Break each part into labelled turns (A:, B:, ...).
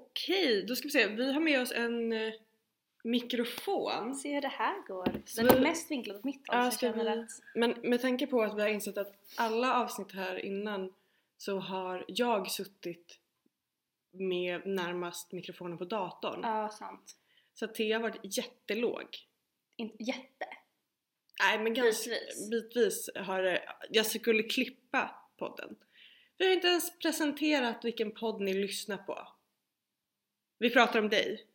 A: Okej, då ska vi se. Vi har med oss en eh, mikrofon.
B: Se hur det här går.
A: Så
B: Den
A: vi-
B: är mest vinklad åt mitt håll
A: Ja,
B: så jag
A: ska
B: känner
A: vi-
B: att
A: Men med tanke på att vi har insett att alla avsnitt här innan så har jag suttit med närmast mikrofonen på datorn.
B: Ja, sant.
A: Så att Thea har varit jättelåg.
B: Inte jätte.
A: Nej men ganska
B: Bitvis.
A: bitvis har det, jag skulle klippa podden. Vi har inte ens presenterat vilken podd ni lyssnar på. Vi pratar om dig.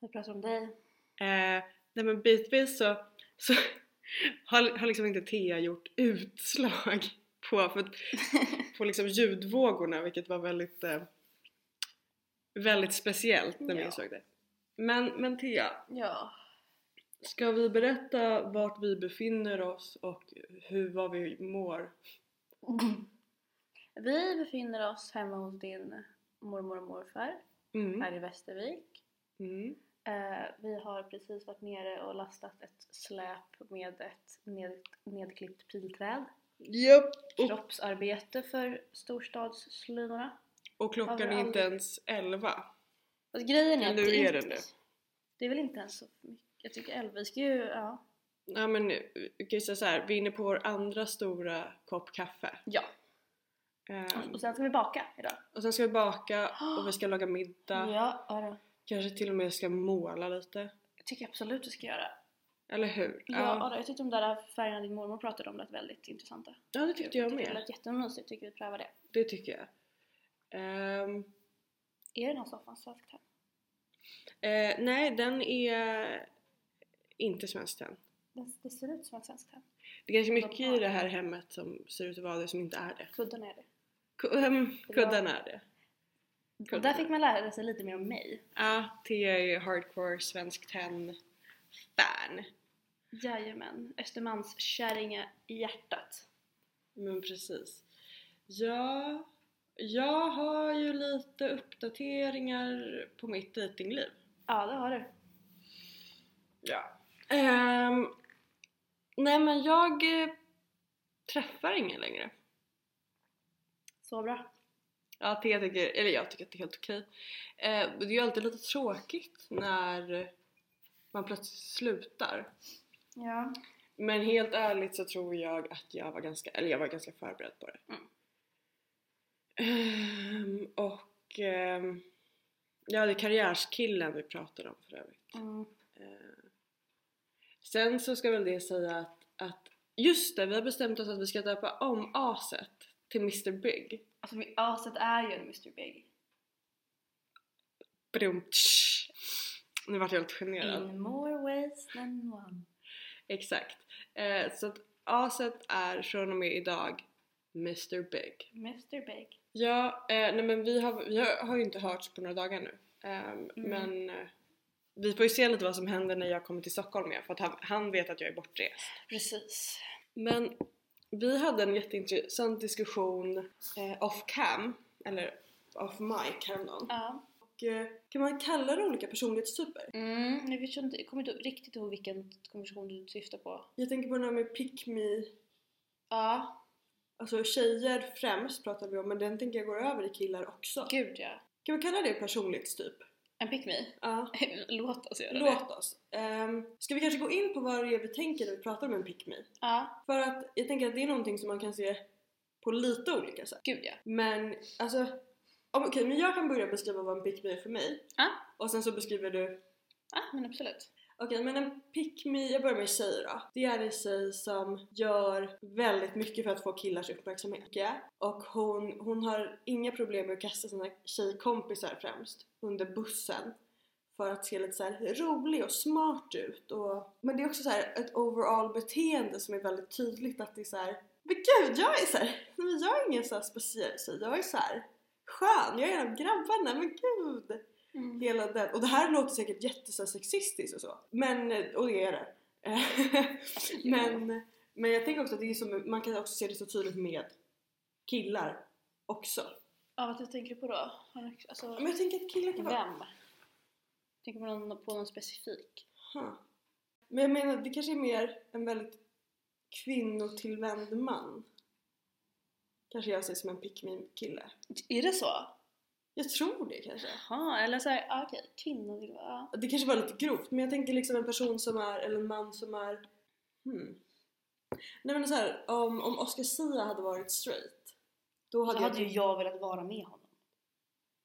B: Vi pratar om dig.
A: Eh, nej men bitvis så, så har, har liksom inte Thea gjort utslag på, för, på liksom ljudvågorna vilket var väldigt, eh, väldigt speciellt när vi
B: Ja.
A: insåg det. Men, men Thea,
B: Ja.
A: Ska vi berätta vart vi befinner oss och hur, vad vi mår?
B: Vi befinner oss hemma hos din mormor och morfar
A: Mm.
B: här i Västervik.
A: Mm.
B: Eh, vi har precis varit nere och lastat ett släp med ett ned, nedklippt pilträd.
A: Japp! Och,
B: Kroppsarbete för storstadsslynorna.
A: och klockan
B: Har vi
A: är inte
B: aldrig-
A: ens 11.
B: Fast Alltså, grejen är
A: Men
B: att
A: nu
B: det
A: är den
B: inte,
A: det.
B: det är väl inte ens så mycket. Jag tycker Elvis ska ju, ja.
A: Ja men vi kan ju säga så här, vi är inne på vår andra stora kopp kaffe.
B: Ja.
A: Ehm,
B: Och sen ska vi baka idag.
A: och sen ska vi baka och vi ska laga middag.
B: Ja, ja då.
A: Kanske till och med ska måla lite.
B: Jag tycker absolut du ska göra.
A: Eller hur?
B: Ja, ja. då, jag tyckte de där färgerna din mormor pratade om lät väldigt intressanta.
A: ja det tyckte jag
B: Det
A: med.
B: lät jättemysigt, tycker vi prövar det.
A: Det tycker jag. Ehm,
B: Är den här soffan svensk här?
A: eh, nej, den är inte svensk än.
B: Det, det ser ut som en svensk här.
A: Det är kanske
B: Vad
A: mycket
B: bra.
A: i det här hemmet som ser ut att vara det som inte är det.
B: Kudden är det.
A: Ku- ehm, Kudden är det.
B: Och där fick man lära sig lite mer om mig.
A: Ja, Thea är ju hardcore svensk tenn-fan.
B: Jajamän, Östermalmskärringa i hjärtat.
A: Men precis. Ja, jag har ju lite uppdateringar på mitt datingliv.
B: Ja, det har du.
A: Ja. Ehm, nej men jag eh, träffar ingen längre.
B: Så bra.
A: Ja, Thea tycker, eller jag tycker att det är helt okej. Eh, men det är ju alltid lite tråkigt när man plötsligt slutar.
B: Ja.
A: Men helt ärligt så tror jag att jag var ganska, eller jag var ganska förberedd på det.
B: Mm.
A: Ehm, och ehm, ja, det är karriärskillen vi pratade om för övrigt.
B: Mm.
A: Ehm, sen så ska väl det säga att, att just det, vi har bestämt oss att vi ska döpa om aset till Mr Big.
B: Alltså vi- aset är ju en Mr Big.
A: Brum, tsch. Nu vart jag helt generad.
B: In more ways than one.
A: Exakt. Eh, så att aset är från och med idag Mr Big.
B: Mr Big.
A: Ja, eh, nej men vi har, vi har, har ju inte hörts på några dagar nu. Ehm, Men eh, vi får ju se lite vad som händer när jag kommer till Stockholm igen för att han, han vet att jag är bortrest.
B: Precis.
A: Men vi hade en jätteintressant diskussion eh, off cam, eller off mic häromdagen.
B: Ja.
A: Och, eh, kan man kalla det olika personlighetstyper?
B: Mm, nu vet jag inte, jag kommer inte riktigt ihåg vilken konversation du syftar på.
A: Jag tänker på den här med pick me,
B: Ja,
A: alltså tjejer främst pratar vi om men den tänker jag går över i killar också.
B: gud ja.
A: Kan man kalla det personlighetstyp?
B: En pick me.
A: Ja.
B: Låt oss göra det.
A: Låt oss. Um, ska vi kanske gå in på vad det är vi tänker när vi pratar om en pick me?
B: Ja,
A: För att jag tänker att det är någonting som man kan se på lite olika sätt.
B: gud ja.
A: Men alltså, om- okej men jag kan börja beskriva vad en pick me är för mig.
B: Ja.
A: Och sen så beskriver du, okej
B: Ja, men absolut.
A: men en pick me, jag börjar med tjejer då. Det är en tjej som gör väldigt mycket för att få killars uppmärksamhet. Och hon, hon har inga problem med att kasta sina tjejkompisar främst under bussen för att se lite så här rolig och smart ut. Och, men det är också så här ett overall beteende som är väldigt tydligt att det är så här. Men gud, jag är så här, nej, men jag är ingen så här speciell tjej. Jag är så här skön, jag är en av grabbarna, men gud.
B: Mm.
A: Hela den. Och det här låter säkert jätte så här sexistiskt och så. Men, och det är det. men, men jag tänker också att det är som, man kan också se det så tydligt med killar också.
B: Ja, vad tänker du på då? Har du- Alltså,
A: Men jag tänker att killar kan vara
B: vem? Tänker man någon- på någon specifik?
A: Huh. Men jag menar, det kanske är mer en väldigt kvinnotillvänd man. Kanske jag ser som en pick me kille
B: Är det så?
A: Jag tror det kanske.
B: Jaha, eller såhär, ah, okej, kvinnor vill vara...
A: Det kanske var lite grovt men jag tänker liksom en person som är, eller en man som är... Hmm. Nej men så här, om, om Oscar Sia hade varit straight då
B: Så
A: hade jag...
B: hade ju jag velat vara med honom.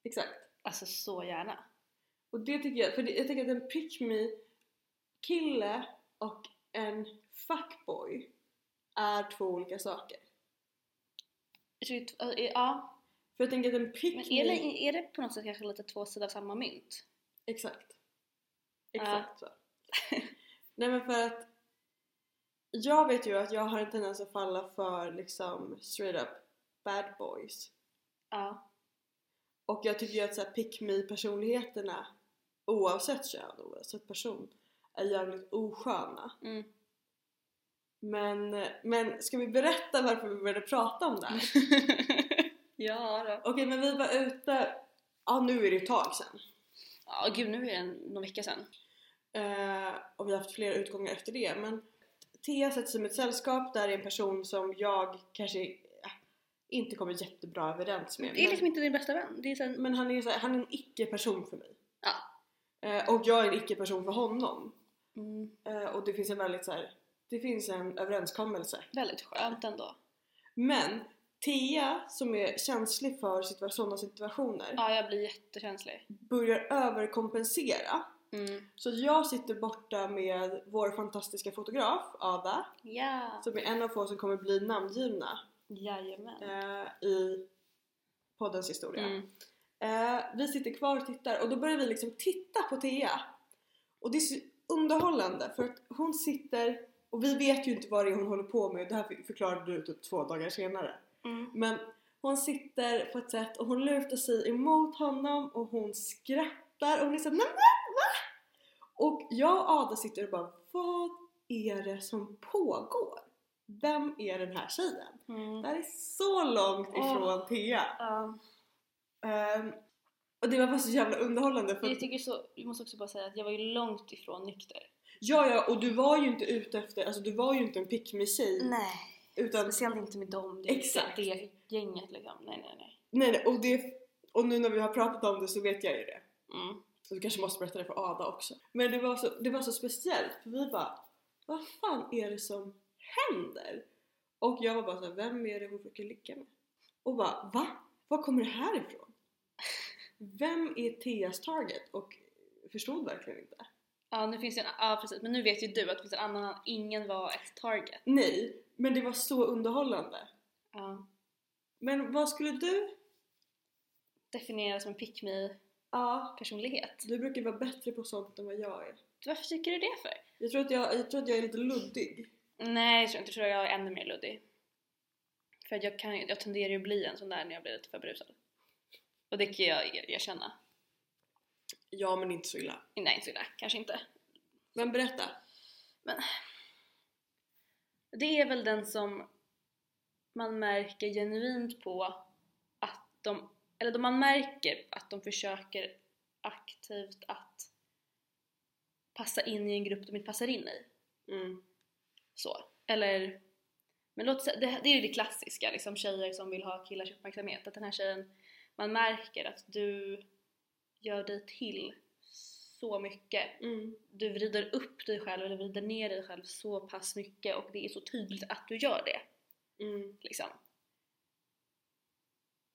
A: Exakt.
B: Alltså så gärna.
A: Och det tycker jag, för det, jag tänker att en pick me kille och en fuckboy är två olika saker.
B: Jag tycker t- äh, Ja,
A: För jag tänker att en pick
B: men
A: me...
B: är det, är det på något sätt kanske lite två sidor av samma mynt?
A: Exakt. Exakt så. Nej men för att jag vet ju att jag har en tendens att falla för liksom straight up bad boys.
B: Ja.
A: Och jag tycker ju att så här, pick me personligheterna oavsett kön och oavsett person är jävligt osköna.
B: Mm.
A: Men, men ska vi berätta varför vi började prata om det här?
B: ja då.
A: Okej men vi var ute, ja nu är det ett tag sedan.
B: Ja gud nu är det en- någon vecka sedan.
A: Eh, och vi har haft flera utgångar efter det. Men Thea sätter sig med ett sällskap där är en person som jag kanske eh, inte kommer jättebra överens med.
B: Det är
A: Men,
B: liksom inte din bästa vän. Det är sen,
A: men han är ju så här, han är en icke-person för mig.
B: Ja.
A: Eh, och jag är en icke-person för honom.
B: mm,
A: Eh, och det finns en väldigt så här, det finns en överenskommelse.
B: väldigt skönt ändå.
A: Men Thea som är känslig för situa- sådana situationer
B: Ja jag blir jättekänslig.
A: börjar överkompensera.
B: Mm.
A: Så jag sitter borta med vår fantastiska fotograf Ada
B: Ja.
A: som är en av få som kommer bli namngivna
B: Jajamän.
A: eh, i poddens historia.
B: Mm.
A: Eh, vi sitter kvar och tittar och då börjar vi liksom titta på Thea. Och det är så underhållande för att hon sitter och vi vet ju inte vad det är hon håller på med. Det här förklarade du typ två dagar senare.
B: Mm.
A: Men hon sitter på ett sätt och hon lutar sig emot honom och hon skrattar och hon är såhär nej men va? Och jag och Ada sitter och bara vad är det som pågår? Vem är den här tjejen? Det
B: Mm.
A: här är så långt ifrån Thea.
B: Ja.
A: Ehm, och det var bara så jävla underhållande för
B: Jag
A: att,
B: tycker så, vi måste också bara säga att jag var ju långt ifrån nykter.
A: ja ja och du var ju inte ute efter, alltså du var ju inte en pick me tjej
B: Nej.
A: utan
B: Speciellt inte med dem. Det,
A: Exakt.
B: Det gänget liksom. Nej, nej, nej.
A: nej, nej och det, och nu när vi har pratat om det så vet jag ju det.
B: Mm.
A: Så du kanske måste berätta det för Ada också. Men det var så, det var så speciellt för vi bara Vad fan är det som händer? Och jag var bara såhär, vem är det hon försöker ligga med? Och bara, va? Var kommer det här ifrån? Vem är Theas target? Och förstod verkligen inte.
B: Ja, nu finns det en, ja, precis. Men nu vet ju du att det finns en annan, ingen var ett target.
A: Nej, men det var så underhållande.
B: Ja.
A: Men vad skulle du?
B: Definieras som en pick me
A: Ja,
B: personlighet.
A: du brukar vara bättre på sånt än vad jag är.
B: Varför tycker du det för?
A: Jag tror att jag, jag, tror att jag är lite luddig.
B: Nej, jag tror inte. Jag tror jag är ännu mer luddig. För att jag, kan, jag tenderar ju att bli en sån där när jag blir lite för berusad. Och det kan jag er- erkänna.
A: Ja, men inte så illa.
B: Nej, inte så illa. Kanske inte.
A: Men berätta.
B: Det är väl den som man märker genuint på att de, eller då man märker att de försöker aktivt att passa in i en grupp de inte passar in i.
A: Mm.
B: Så. Eller, men låt säga, det, det är ju det klassiska liksom tjejer som vill ha killars uppmärksamhet. Att den här tjejen, man märker att du gör dig till så mycket
A: Mm.
B: du vrider upp dig själv eller vrider ner dig själv så pass mycket och det är så tydligt att du gör det.
A: Mm.
B: Liksom.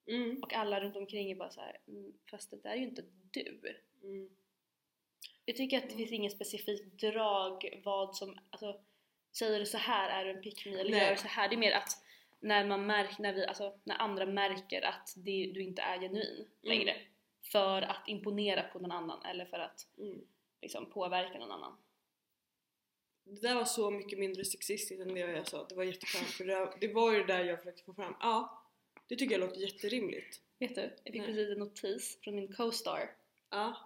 A: Mm.
B: Och alla runt omkring är bara så här, "Mm, fast det där är ju inte du.
A: Mm.
B: Jag tycker att det finns ingen specifikt drag vad som, alltså säger du så här är du en pick me eller
A: Nej.
B: gör du så här. Det är mer att när man märker, när vi, alltså när andra märker att det, du inte är genuin längre. För att imponera på någon annan eller för att
A: Mm.
B: liksom påverka någon annan.
A: Det där var så mycket mindre sexistiskt än det jag sa. Det var jätteskönt för det, det var ju det där jag försökte få fram. Ja, det tycker jag låter jätterimligt.
B: Vet du, jag fick
A: Nej.
B: precis en notis från min co-star
A: Ja,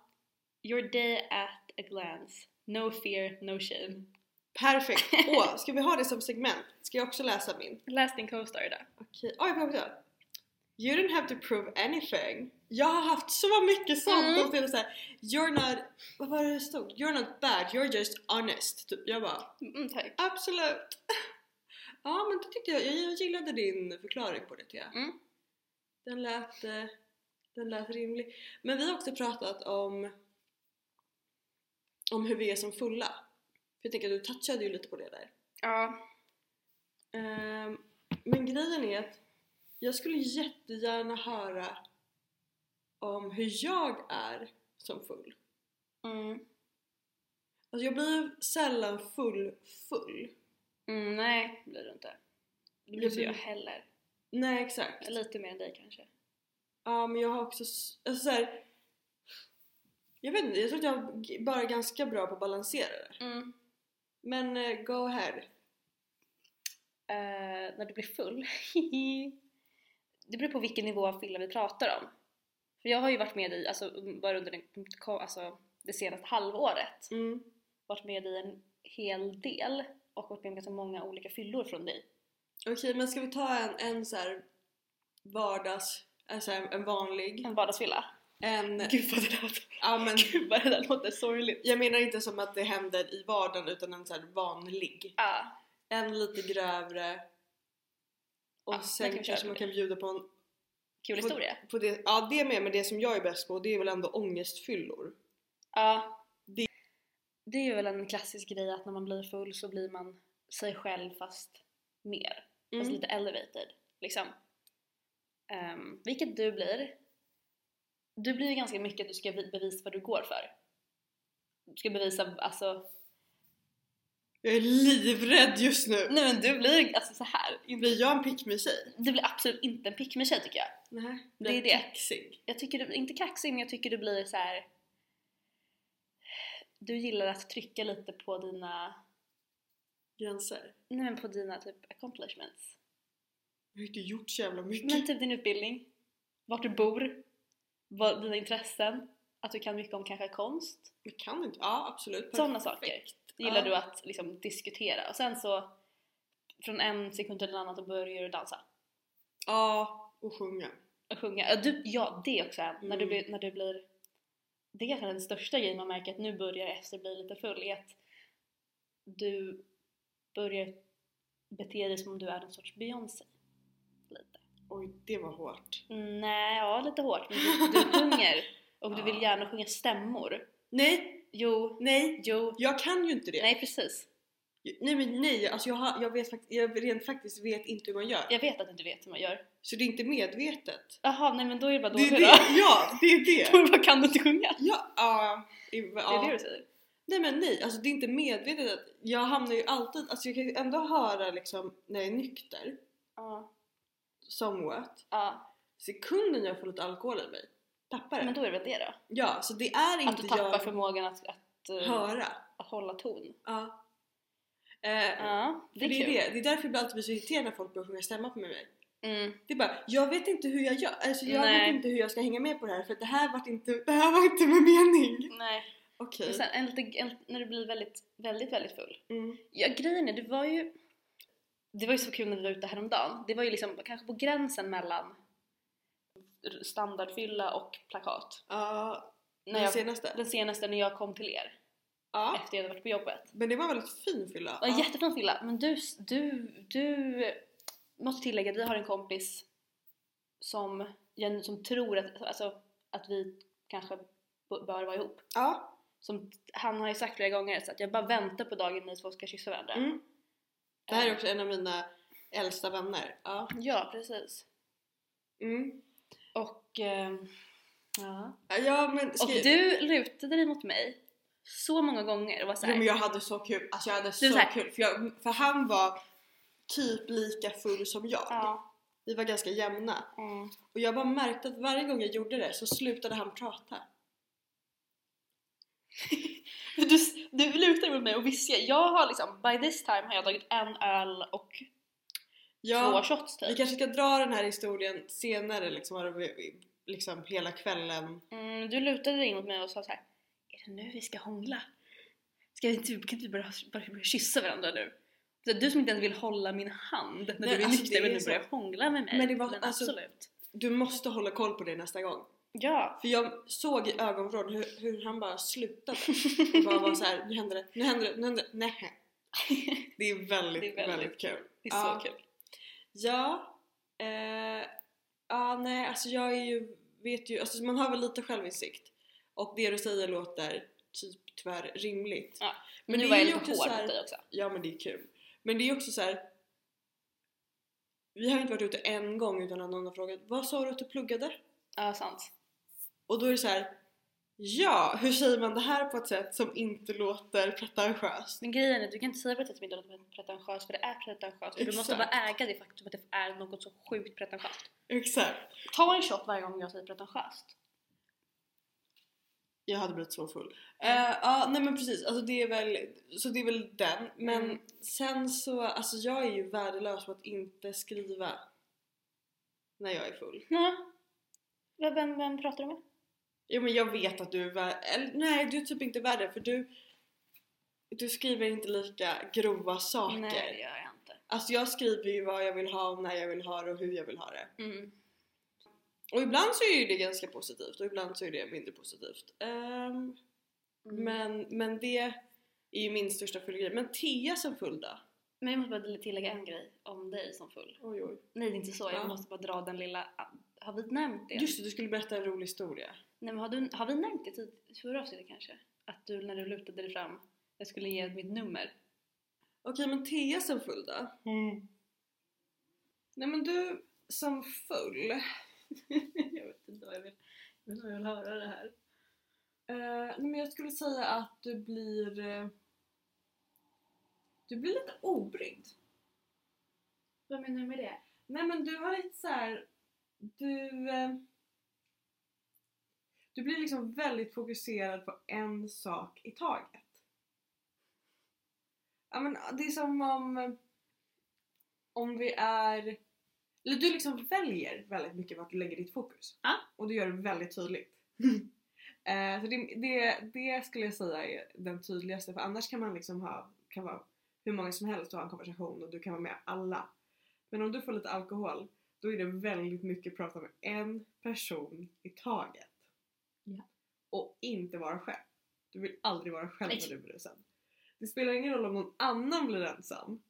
B: Your day at a glance. No fear, no shame.
A: perfekt! Åh, ska vi ha det som segment? Ska jag också läsa min?
B: Läs din co-star idag.
A: Okej, oj, oj, oj, oj. You don't have to prove anything. Jag har haft så mycket sånt
B: Mm.
A: och det är så här, you're not, vad var det det stod? You're not bad, you're just honest. Typ. Jag bara,
B: Mm, tack.
A: absolut! Ja men det tyckte jag, jag, jag gillade din förklaring på det Thea.
B: Mm.
A: Den lät eh, Den lät rimlig. Men vi har också pratat om, om hur vi är som fulla. För jag tänker att du touchade ju lite på det där.
B: Ja.
A: Ehm, men grejen är att jag skulle jättegärna höra om hur jag är som full.
B: Mm.
A: Alltså jag blir ju sällan full full.
B: Mm, nej, det blir du inte. Det blir
A: Jag
B: inte jag
A: blir-
B: heller.
A: Nej exakt.
B: Lite mer än dig kanske.
A: Ja men jag har också, s- alltså så här, Jag vet inte, jag tror att jag g- bara är ganska bra på att balansera det.
B: Mm.
A: Men eh, go ahead.
B: Eh, när du blir full. det beror på vilken nivå av fylla vi pratar om. För jag har ju varit med i, alltså um, bara under den, alltså, det senaste halvåret,
A: Mm.
B: varit med i en hel del och varit med om ganska många olika fyllor från dig.
A: Okej men ska vi ta en, en så här vardags, alltså en en vanlig,
B: En vardagsfylla.
A: en,
B: Gud vad det lät,
A: ja men
B: gud vad det där låter sorgligt.
A: Jag menar inte som att det händer i vardagen utan en så här vanlig.
B: Ja,
A: En lite grövre. Och
B: Ja, det kan
A: sen
B: vi
A: kanske
B: köra på
A: man
B: det.
A: kan bjuda på en...
B: kul
A: på-
B: historia.
A: På det, ja det med, men det som jag är bäst på det är väl ändå ångestfyllor.
B: Ja.
A: Det-
B: Ah. det är ju väl en klassisk grej att när man blir full så blir man sig själv fast mer.
A: Mm.
B: Fast Alltså lite elevated liksom. Ehm, vilket du blir. Du blir ju ganska mycket att du ska vi- bevisa vad du går för. Du ska bevisa, alltså.
A: Jag är livrädd just nu!
B: Nej men du blir alltså så här.
A: Blir jag en pick me tjej?
B: Du blir absolut inte en pick tjej tycker jag.
A: Nej,
B: det är
A: jag
B: det.
A: Kaxig.
B: Jag tycker du, inte kaxig men jag tycker du blir så här. Du gillar att trycka lite på dina,
A: Gränser.
B: nej men på dina typ accomplishments.
A: Jag har inte gjort så jävla mycket.
B: Men typ din utbildning, vart du bor, vad, dina intressen, att du kan mycket om kanske konst.
A: Jag kan inte. Ja absolut.
B: Sådana saker gillar
A: Ja.
B: du att liksom diskutera och sen så från en sekund till en annan så börjar du dansa
A: Ja, och sjunga.
B: och sjunga. Ja, Du, ja det också är en. när, du
A: Mm.
B: blir, när du blir det är kanske den största grejen man märker att nu börjar efter bli lite full är att du börjar bete dig som om du är en sorts Beyoncé. Lite.
A: Oj, det var hårt.
B: Nej, ja lite hårt men du, du sjunger och du
A: Ja.
B: vill gärna sjunga stämmor.
A: Nej,
B: Jo,
A: nej!
B: jo,
A: Jag kan ju inte det.
B: nej precis.
A: Nej men nej, alltså jag, har, jag, vet fakt- jag rent faktiskt vet inte hur man gör.
B: Jag vet att du inte vet hur man gör.
A: Så det är inte medvetet.
B: Jaha, nej men då är det bara
A: Det är
B: dålig då.
A: det, ja det är det!
B: Vad kan du inte sjunga?
A: Ja, ja, i- ja.
B: Det är det du säger?
A: Nej men nej, alltså det är inte medvetet att jag hamnar ju alltid, alltså jag kan ju ändå höra liksom när jag är nykter,
B: Ja.
A: somewhat,
B: ja.
A: sekunden jag får lite alkohol i mig, tappar det.
B: Men då är det väl det då?
A: Ja, så det är
B: Att
A: inte
B: du tappar
A: jag
B: förmågan att, att, eh,
A: höra.
B: att hålla ton.
A: Ja. Eh,
B: Ja, det
A: för
B: är
A: det, är det.
B: kul.
A: det är därför jag alltid blir så irriterad när folk börjar sjunga stämma på mig.
B: Mm.
A: Det är bara, jag vet inte hur jag gör, alltså jag
B: Nej.
A: vet inte hur jag ska hänga med på det här för att det här var inte, det här var inte med mening.
B: Nej.
A: Okej.
B: Och sen en, lite- en, när du blir väldigt, väldigt, väldigt full.
A: Mm.
B: Ja, grejen är, det var ju... Det var ju så kul när vi var ute häromdagen. Det var ju liksom kanske på gränsen mellan standardfylla och plakat.
A: Ja,
B: När
A: den
B: jag,
A: senaste.
B: den senaste när jag kom till er
A: Ja,
B: efter jag hade varit på jobbet.
A: men det var en väldigt fin fylla.
B: Ja, jättefin fylla. Men du, du, du måste tillägga att vi har en kompis som, gen- som tror att, alltså, att vi kanske b- bör vara ihop.
A: ja.
B: Som, han har ju sagt flera gånger så att jag bara väntar på dagen ni två ska kyssa varandra.
A: Mm. Det
B: Eh.
A: här är också en av mina äldsta vänner. Ja.
B: Ja, precis.
A: Mm.
B: Och, eh, ja.
A: Ja men
B: och du lutade dig mot mig så många gånger och var
A: Jo, men
B: såhär,
A: jag hade så kul, alltså jag hade
B: är
A: så
B: så här-
A: kul för, jag, för han var typ lika full som jag.
B: ja,
A: Vi var ganska jämna
B: mm.
A: och jag bara märkte att varje gång jag gjorde det så slutade han prata.
B: du, du lutade dig mot mig och visste, jag har liksom, by this time har jag tagit en öl och
A: Jag,
B: två shots typ.
A: Vi kanske ska dra den här historien senare liksom, har vi, liksom hela kvällen.
B: Mm, du lutade dig in mot mig och sa så här. Är det nu vi ska hångla? Ska vi inte, kan inte vi bara, bara börja kyssa varandra nu? Så du som inte ens vill hålla min hand när
A: Nej,
B: du är
A: alltså, det
B: nykter men
A: är
B: nu
A: så.
B: börjar hångla med mig.
A: Men det var- alltså-
B: absolut.
A: Du måste hålla koll på det nästa gång.
B: Ja.
A: För jag såg i ögonvrån hur, hur han bara slutade. Och bara var så här, nu händer det, nu händer det, nu händer det, nej. Det är väldigt,
B: Det är
A: väldigt,
B: väldigt
A: kul.
B: Det är
A: Ja.
B: så kul.
A: Ja, eh, ja nej alltså jag är ju vet ju, alltså man har väl lite självinsikt. Och det du säger låter typ tyvärr rimligt.
B: Ja,
A: Men
B: Men nu
A: det
B: var
A: är
B: jag
A: ju
B: lite
A: också
B: hård
A: så här-
B: mot dig också.
A: Ja men det är kul. Men det är också så här. Vi har inte varit ute en gång utan att någon har frågat Vad sa du att du pluggade?
B: Ja, sant.
A: Och då är det så här. Ja, hur säger man det här på ett sätt som inte låter pretentiöst?
B: Men grejen är att du kan inte säga på ett sätt som inte låter pretentiöst för det är pretentiöst och du måste bara
A: Exakt.
B: äga det faktum att det är något så sjukt pretentiöst.
A: Exakt.
B: Ta en shot varje gång jag säger pretentiöst.
A: Jag hade blivit så full. Eh, ja, nej men precis. Alltså det är väl, så det är väl den. Men
B: Mm.
A: sen så, alltså jag är ju värdelös på att inte skriva när jag är full.
B: Nej. Vem, vem, vem pratar du med?
A: Jo men jag vet att du är värre, eller nej du är typ inte värre för du du skriver inte lika grova saker.
B: Nej, det gör jag inte.
A: Alltså jag skriver ju vad jag vill ha, och när jag vill ha det och hur jag vill ha det.
B: Mm.
A: Och ibland så är ju det ganska positivt och ibland så är det mindre positivt. Ehm,
B: Mm.
A: men, men det är ju min största fyllegrej. Men Thea som full då?
B: Men jag måste bara tillägga en grej om dig som full.
A: Oj oj.
B: Nej, det är inte så. Jag
A: Ja.
B: måste bara dra den lilla... Har vi nämnt det?
A: Just det, du skulle berätta en rolig historia.
B: Nej, men har, du, har vi nämnt det tid- i förra avsnittet kanske? Att du, när du lutade dig fram, jag skulle ge mitt nummer.
A: Okej men Thea som full då? Mm. Nej men du som full.
B: jag vet inte vad jag vill. Jag vet inte vad jag vill höra det här.
A: Eh, nej, men jag skulle säga att du blir... eh, Du blir lite obrydd.
B: Vad menar du med det?
A: Nej men du har lite så här. Du... eh, Du blir liksom väldigt fokuserad på en sak i taget. Ja men det är som om... eh, Om vi är... Eller du liksom väljer väldigt mycket vart du lägger ditt fokus.
B: Ja.
A: Och du gör det väldigt tydligt. Eh, så det, det, det skulle jag säga är den tydligaste för annars kan man liksom ha kan vara hur många som helst och ha en konversation och du kan vara med alla. Men om du får lite alkohol då är det väldigt mycket prata med en person i taget.
B: Ja.
A: Och inte vara själv. Du vill aldrig vara själv
B: Nej.
A: när du blir ensam. Det spelar ingen roll om någon annan blir ensam.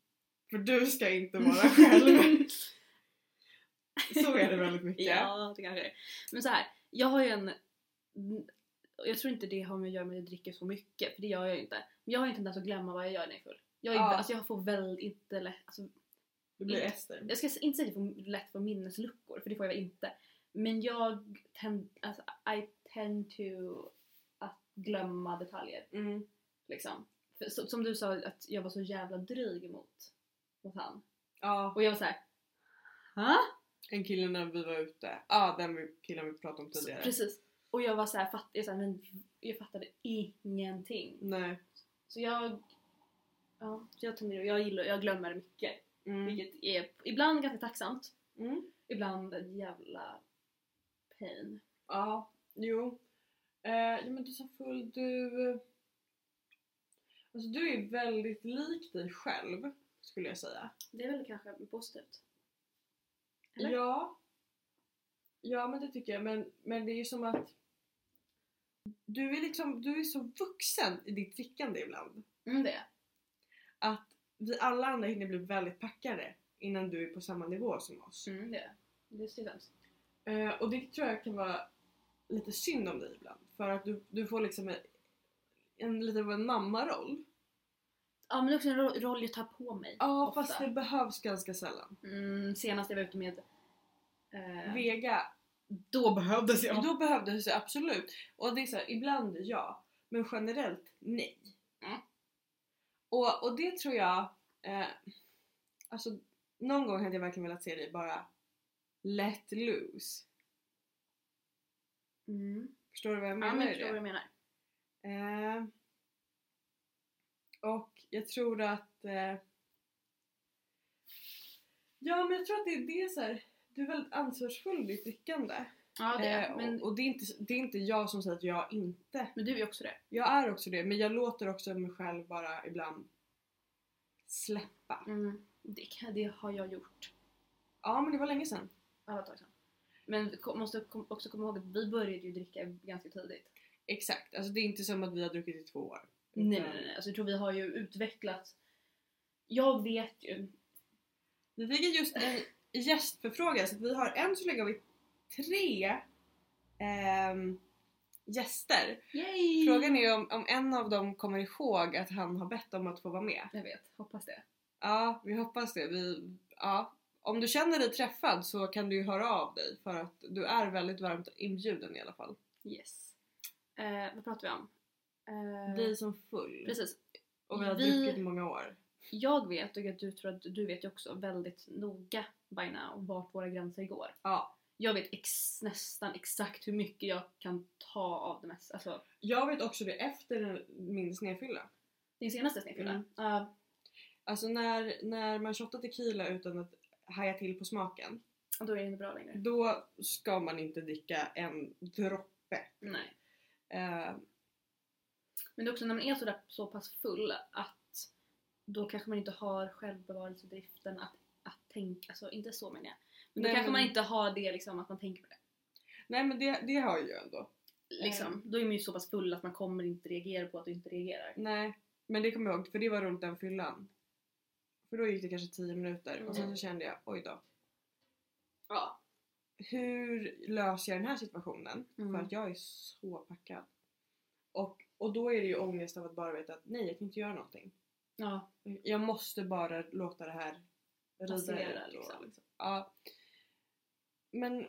A: För du ska inte vara själv. Så är det väldigt mycket.
B: Ja, det kanske är. Men så här, jag har ju en... och Jag tror inte det har med att göra med att jag dricker så mycket, för det gör jag ju inte. Men jag har ju en tendens att glömma vad jag gör när jag är full. Jag, är,
A: Ja.
B: alltså, jag får väldigt inte lätt... Alltså,
A: Du blir Ester.
B: jag ska inte säga att jag får lätt för minnesluckor, för det får jag väl inte. Men jag tend, alltså, I tend to att glömma detaljer.
A: Mm.
B: Liksom. För, så, som du sa, att jag var så jävla dryg mot, mot han.
A: Ja.
B: Och jag var såhär... Ha?
A: En kille när vi var ute. Ja, ah, den vi- killen vi pratade om tidigare.
B: Precis. Och jag var så här, fatt, jag, så här, men jag fattade ingenting.
A: Nej.
B: Så jag... Ja, så jag, tenderar, jag, gillar, jag glömmer mycket.
A: Mm.
B: Vilket är ibland ganska tacksamt.
A: Mm.
B: Ibland en jävla pain.
A: Ja, jo. Eh, ja, men du sa full, du... Alltså du är väldigt lik dig själv, skulle jag säga.
B: Det är väl kanske positivt. Eller?
A: Ja. Ja, men det tycker jag. Men, men det är ju som att... Du är liksom, du är så vuxen i ditt drickande ibland.
B: Mm, det.
A: Att vi alla andra hinner bli väldigt packade innan du är på samma nivå som oss.
B: Mm, det. Det är stilsamt.
A: Eh, och det tror jag kan vara lite synd om dig ibland. För att du, du får liksom en, en lite av en mammaroll.
B: Ja, men det är också en ro- roll jag tar på mig.
A: Ja
B: ofta.
A: fast det behövs ganska sällan.
B: Mm, senast jag var ute med... Eh,
A: Vega,
B: Då behövdes
A: då behövdes det absolut. Och det är så här, ibland ja, men generellt nej.
B: Mm.
A: Och, och det tror jag, eh, alltså någon gång hade jag verkligen velat se dig bara let loose.
B: Mm.
A: Förstår du vad jag
B: Ja, men
A: menar? i
B: jag
A: det?
B: förstår vad du menar.
A: Eh, och jag tror att... Eh, ja, men jag tror att det är det så här. Du är väldigt ansvarsfull i ditt drickande.
B: Ja, det.
A: Eh,
B: men,
A: och och det, är inte, det är inte jag som säger att jag inte...
B: men du är också det.
A: Jag är också det, men jag låter också mig själv bara ibland släppa.
B: Mm, det, kan, det har jag gjort.
A: Ja, men det var länge sedan.
B: Ja, det var ett tag sedan. Men kom, måste kom, också komma ihåg att vi började ju dricka ganska tidigt.
A: Exakt, alltså det är inte som att vi har druckit i två år.
B: Nej, nej, nej. Alltså, jag tror vi har ju utvecklat... Jag vet ju...
A: Vi fick just en gästförfrågan så att vi har än så länge har vi tre ehm, gäster.
B: Yay!
A: Frågan är om, om en av dem kommer ihåg att han har bett om att få vara med.
B: Jag vet, hoppas det.
A: Ja, vi hoppas det. Vi, ja. Om du känner dig träffad så kan du ju höra av dig för att du är väldigt varmt inbjuden i alla fall.
B: Yes. Eh, vad pratar vi om? Eh,
A: Bli som full.
B: Precis.
A: Och vi har
B: vi-
A: druckit i många år.
B: Jag vet, och du tror att du vet ju också väldigt noga by now vart våra gränser går.
A: Ja.
B: Jag vet ex, nästan exakt hur mycket jag kan ta av det mesta. Alltså,
A: Jag vet också det efter min snedfylla.
B: din senaste snedfylla.
A: Mm.
B: Ja,
A: Alltså när, när man shottar tequila utan att haja till på smaken.
B: då är det inte bra längre.
A: Då ska man inte dricka en droppe.
B: Nej.
A: Eh,
B: Men det är också när man är så, där, så pass full att då kanske man inte har självbevarelsedriften att, att tänka. Alltså inte så menar jag. Men då
A: Nej,
B: kanske
A: men-
B: man inte har det liksom att man tänker på det.
A: nej men det, det har jag ju ändå.
B: Liksom. Då är man ju så pass full att man kommer inte reagera på att du inte reagerar.
A: Nej, men det kommer jag ihåg för det var runt den fyllan. För då gick det kanske 10 minuter och sen så
B: Mm.
A: kände jag oj då.
B: Ja.
A: Hur löser jag den här situationen?
B: Mm.
A: För att jag är så packad. Och, och då är det ju ångest av att bara veta att nej jag kan inte göra någonting.
B: Ja.
A: Jag måste bara låta det här rida
B: Passera,
A: ut och-
B: liksom.
A: Ja. Men...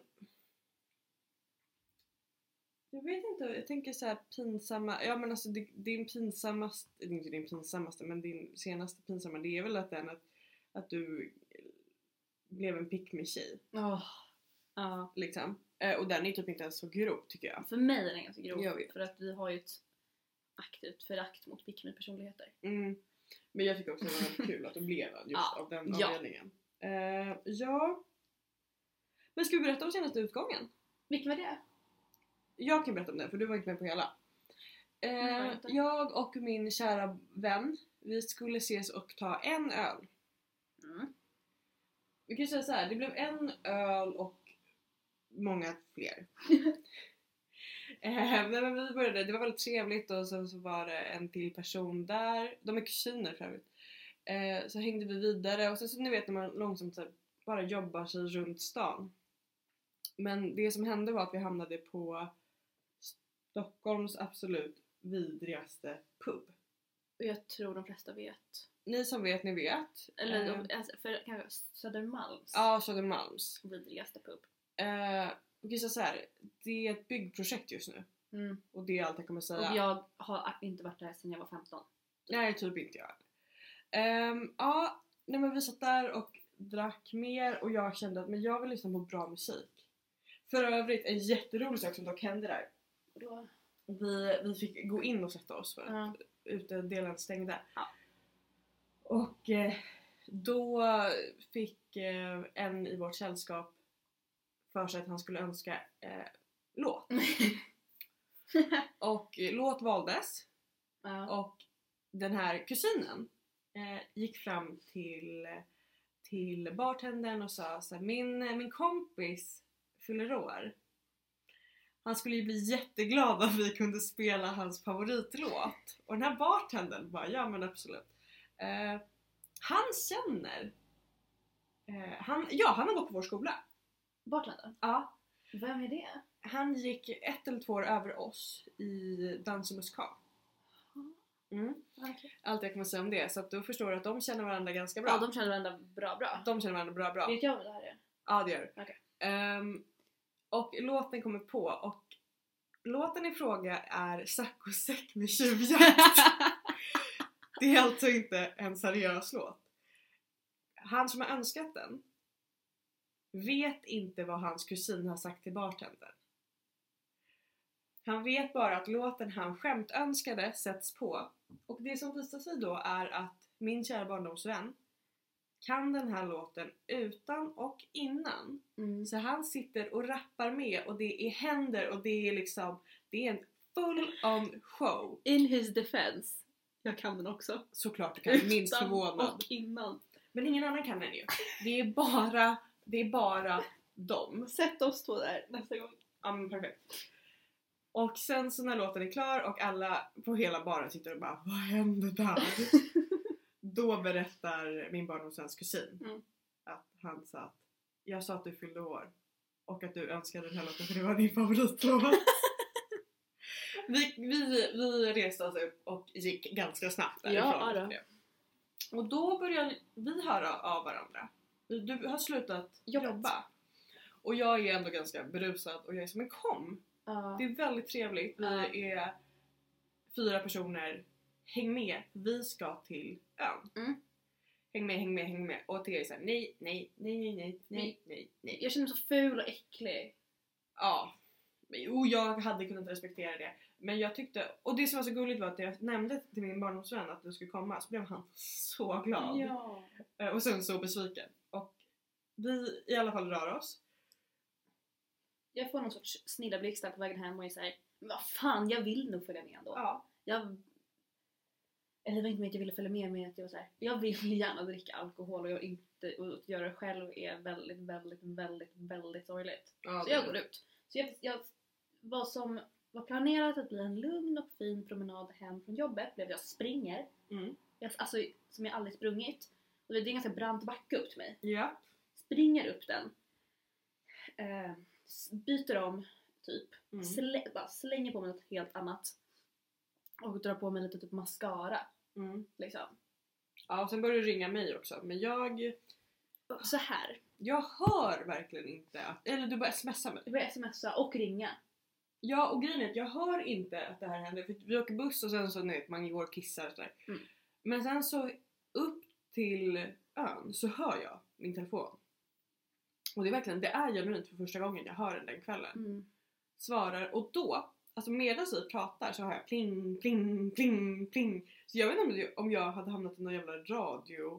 A: Jag vet inte, jag tänker så här pinsamma... Ja men alltså di- din pinsammaste... det är Inte din pinsammaste men din senaste pinsamma det är väl att den att, att du blev en pick me tjej
B: Ja. Ja.
A: liksom. Eh, och den är typ inte ens så grov tycker jag.
B: För mig är den ganska grov.
A: Jag vet.
B: För att vi har ju ett aktivt förakt mot pick-me-personligheter.
A: Mm. Men jag tycker också att det var väldigt kul att du blev just
B: Ja.
A: av den
B: Ja.
A: anledningen. Eh, ja. Men ska vi berätta om senaste utgången?
B: Vilken var det?
A: Jag kan berätta om den för du var inte med på hela.
B: Nej, det var
A: Eh,
B: jag inte.
A: jag och min kära vän, vi skulle ses och ta en öl.
B: Mm.
A: Vi kan säga så här, det blev en öl och många fler. eh, nej, men vi började, det var väldigt trevligt och sen så var det en till person där. De är kusiner för övrigt. Eh, så hängde vi vidare och sen så ni vet när man långsamt så här, bara jobbar sig runt stan. Men det som hände var att vi hamnade på Stockholms absolut vidrigaste pub.
B: Och jag tror de flesta vet.
A: Ni som vet, ni vet.
B: Eller
A: eh,
B: de, alltså, för kanske Södermalms
A: Ja, Södermalms.
B: vidrigaste pub.
A: Eh, vi kan säga så här, det är ett byggprojekt just nu
B: Mm.
A: och det är allt jag kommer säga.
B: Och jag har inte varit där sedan jag var 15.
A: Nej, typ inte jag. Ehm, ja, nej men vi satt där och drack mer och jag kände att men jag vill lyssna på bra musik. För övrigt, en jätterolig sak som dock hände där.
B: Och då...
A: Vi, vi fick gå in och sätta oss för att
B: Ja.
A: utedelen stängde.
B: Ja.
A: Och eh, då fick eh, en i vårt sällskap för sig att han skulle önska eh, låt. Och eh, låt valdes
B: ja.
A: och den här kusinen eh, gick fram till, till bartendern och sa så här, min, eh, min kompis fyller år. Han skulle ju bli jätteglad om vi kunde spela hans favoritlåt. Och den här bartendern bara, ja men absolut. Eh, han känner... Eh, han, ja, han har gått på vår skola.
B: Bartendern?
A: Ja,
B: Vem är det?
A: han gick ett eller två år över oss i dans och musikal. Mm. Allt jag kommer säga om det. Så att du förstår att de känner varandra ganska bra.
B: Ja, de känner varandra bra bra.
A: De känner varandra bra bra.
B: Vet jag vad det här är?
A: Ja det gör du.
B: Okej.
A: Ehm, och låten kommer på och låten i fråga är Sack och säck med tjuvjakt. det är alltså inte en seriös låt. Han som har önskat den vet inte vad hans kusin har sagt till bartendern. Han vet bara att låten han skämtönskade sätts på och det som visar sig då är att min kära barndomsvän kan den här låten utan och innan.
B: Mm.
A: Så han sitter och rappar med och det är händer och det är liksom, det är en full on show.
B: In his defense. Jag kan den också.
A: Såklart du kan, minst
B: Utan
A: förvånad.
B: Och innan.
A: Men ingen annan kan den ju. Det är bara, det är bara dem.
B: Sätt oss två där nästa gång.
A: Ja men perfekt. Och sen så när låten är klar och alla på hela baren sitter och bara Vad hände där? Då berättar min barndomsväns kusin
B: Mm.
A: att han sa att Jag sa att du fyllde år Och att du önskade den här låten för det var din favoritlåt. vi, vi, vi reste oss upp och gick ganska snabbt
B: Ja,
A: därifrån.
B: ja då.
A: och då började vi höra av varandra. Du, du har slutat
B: Jobbat.
A: jobba. Och jag är ändå ganska berusad och jag är som en kom.
B: Ja.
A: Det är väldigt trevligt.
B: Ja.
A: Vi är fyra personer. Häng med, vi ska till ön.
B: Mm.
A: Häng med, häng med, häng med. Och Theo är såhär nej, nej, nej, nej, nej, nej, nej, nej.
B: Jag känner mig så ful och äcklig.
A: Ja. Jo, jag hade kunnat respektera det. Men jag tyckte, och det som var så gulligt var att jag nämnde till min barndomsvän att du skulle komma så blev han så glad.
B: Ja.
A: Eh, Och sen så besviken. Och vi i alla fall rör oss.
B: Jag får någon sorts snilleblixtar på vägen hem och är såhär "Men vad fan, jag vill nog följa med ändå.
A: Ja.
B: Jag... Eller det var inte med att jag ville följa med men att jag var såhär, jag vill gärna dricka alkohol och, jag inte, och att göra det själv är väldigt, väldigt, väldigt, väldigt sorgligt.
A: ja
B: Så jag går ut. Så jag, jag, vad som var planerat att bli en lugn och fin promenad hem från jobbet blev jag springer.
A: Mm.
B: Jag, alltså, som jag aldrig sprungit. Och det är en ganska brant backe upp till mig.
A: Ja.
B: Springer upp den. Eh, s- byter om, typ.
A: Mm.
B: Slä, bara slänger på mig något helt annat. Och drar på mig lite typ mascara.
A: Mm.
B: Liksom.
A: Ja, och sen började det ringa mig också. Men jag Ah.
B: Så här.
A: Jag hör verkligen inte att... Eller du bara smsar mig.
B: Jag börjar smsa och ringa.
A: Ja och grejen är att jag hör inte att det här händer. För vi åker buss och sen så nej, man går och kissar och sådär.
B: Mm.
A: Men sen så upp till ön så hör jag min telefon. Och det är verkligen, det är genuint för första gången jag hör den den kvällen.
B: Mm.
A: Svarar och då, alltså medan vi pratar så hör jag pling, pling, pling, pling. Så jag vet inte om, det, om jag hade hamnat i någon jävla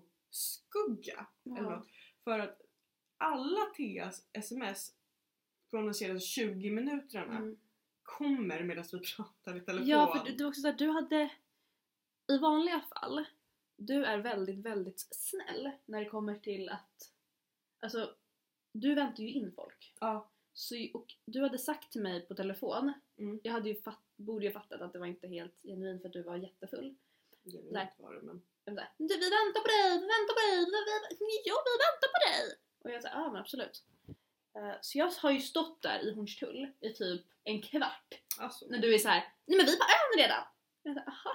A: radioskugga. Eller något. För att alla Theas sms från de senaste 20 minuterna
B: Mm.
A: kommer medan vi pratar i telefon.
B: Ja, för du, du, var också så här, du hade... I vanliga fall, du är väldigt, väldigt snäll när det kommer till att... Alltså, du väntar ju in folk.
A: Ja.
B: Så, och du hade sagt till mig på telefon,
A: Mm.
B: jag hade ju fatt, borde ju ha fattat att det var inte helt genuint för att du var jättefull.
A: Jag vet
B: Nej.
A: inte vad det är, men...
B: Jag var så här, du, vi väntar på dig, vi väntar på dig, vi, vi, ja, vi väntar på dig! Och jag sa, ja men absolut. Eh, Så jag har ju stått där i Hornstull i typ en kvart.
A: Alltså,
B: När du är så här, nej men vi är på ön redan! Jag, sa, "Aha."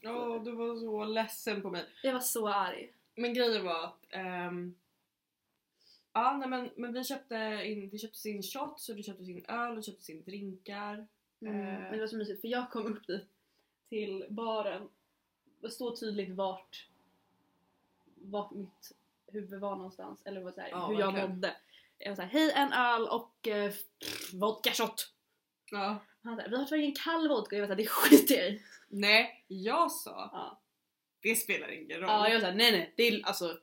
A: ja, du var så ledsen på mig.
B: jag var så arg.
A: Men grejen var att... ehm, ja, nej, men, men vi köpte in, det köptes in shots och det köptes in öl och det köptes in drinkar.
B: Mm.
A: Eh.
B: Men det var så mysigt för jag kom upp dit till baren. Det står tydligt vart, vart mitt huvud var någonstans eller vad så här,
A: Ja,
B: hur jag
A: verkligen.
B: mådde. Jag var såhär, hej en öl och eh, pff, vodka shot.
A: Ja.
B: Han sa, vi har tagit en kall vodka och jag var såhär, det skiter jag i.
A: Nej, jag sa
B: Ja.
A: det spelar ingen roll.
B: ja, jag var såhär, nej nej, det är alltså.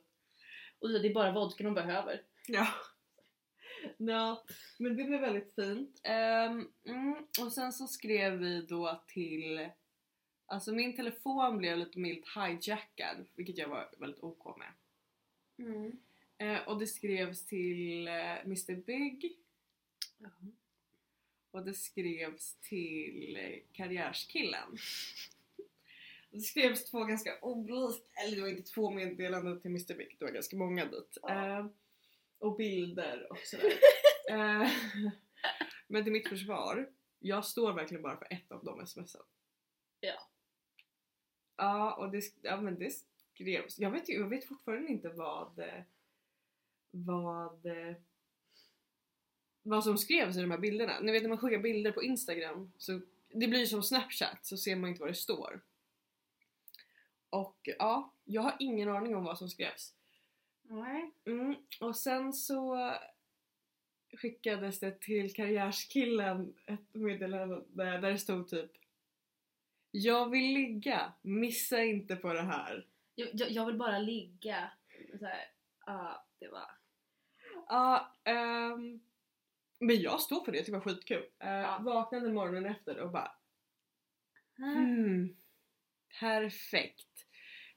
B: Och det är bara vodka de behöver.
A: Ja. ja. Men det blev väldigt fint. Ehm, mm, och sen så skrev vi då till... Alltså min telefon blev lite milt hijackad, vilket jag var väldigt OK med. Eh, och det skrevs till eh, Mr Big
B: Ja.
A: och det skrevs till eh, Karriärskillen. Det skrevs två ganska olika, eller det var inte två meddelanden till Mr Big, det var ganska många dit.
B: Ja.
A: Eh, och bilder och sådär. eh, men till mitt försvar, jag står verkligen bara för ett av de smsen.
B: Ja.
A: Ja, och det, sk- ja, men det skrevs. Jag vet, ju- jag vet fortfarande inte vad, eh, vad, eh, vad som skrevs i de här bilderna. Ni vet när man skickar bilder på Instagram så det blir som Snapchat så ser man inte vad det står. Och ja, jag har ingen aning om vad som skrevs.
B: Nej.
A: Mm, och sen så skickades det till karriärskillen ett meddelande där det stod typ Jag vill ligga, missa inte på det här.
B: Jag, jag, jag vill bara ligga. Så här, ja, det var...
A: Ja, ehm, men jag står för det, jag tycker det var skitkul. Uh,
B: Ja.
A: Vaknade morgonen efter och bara Mm. Perfekt.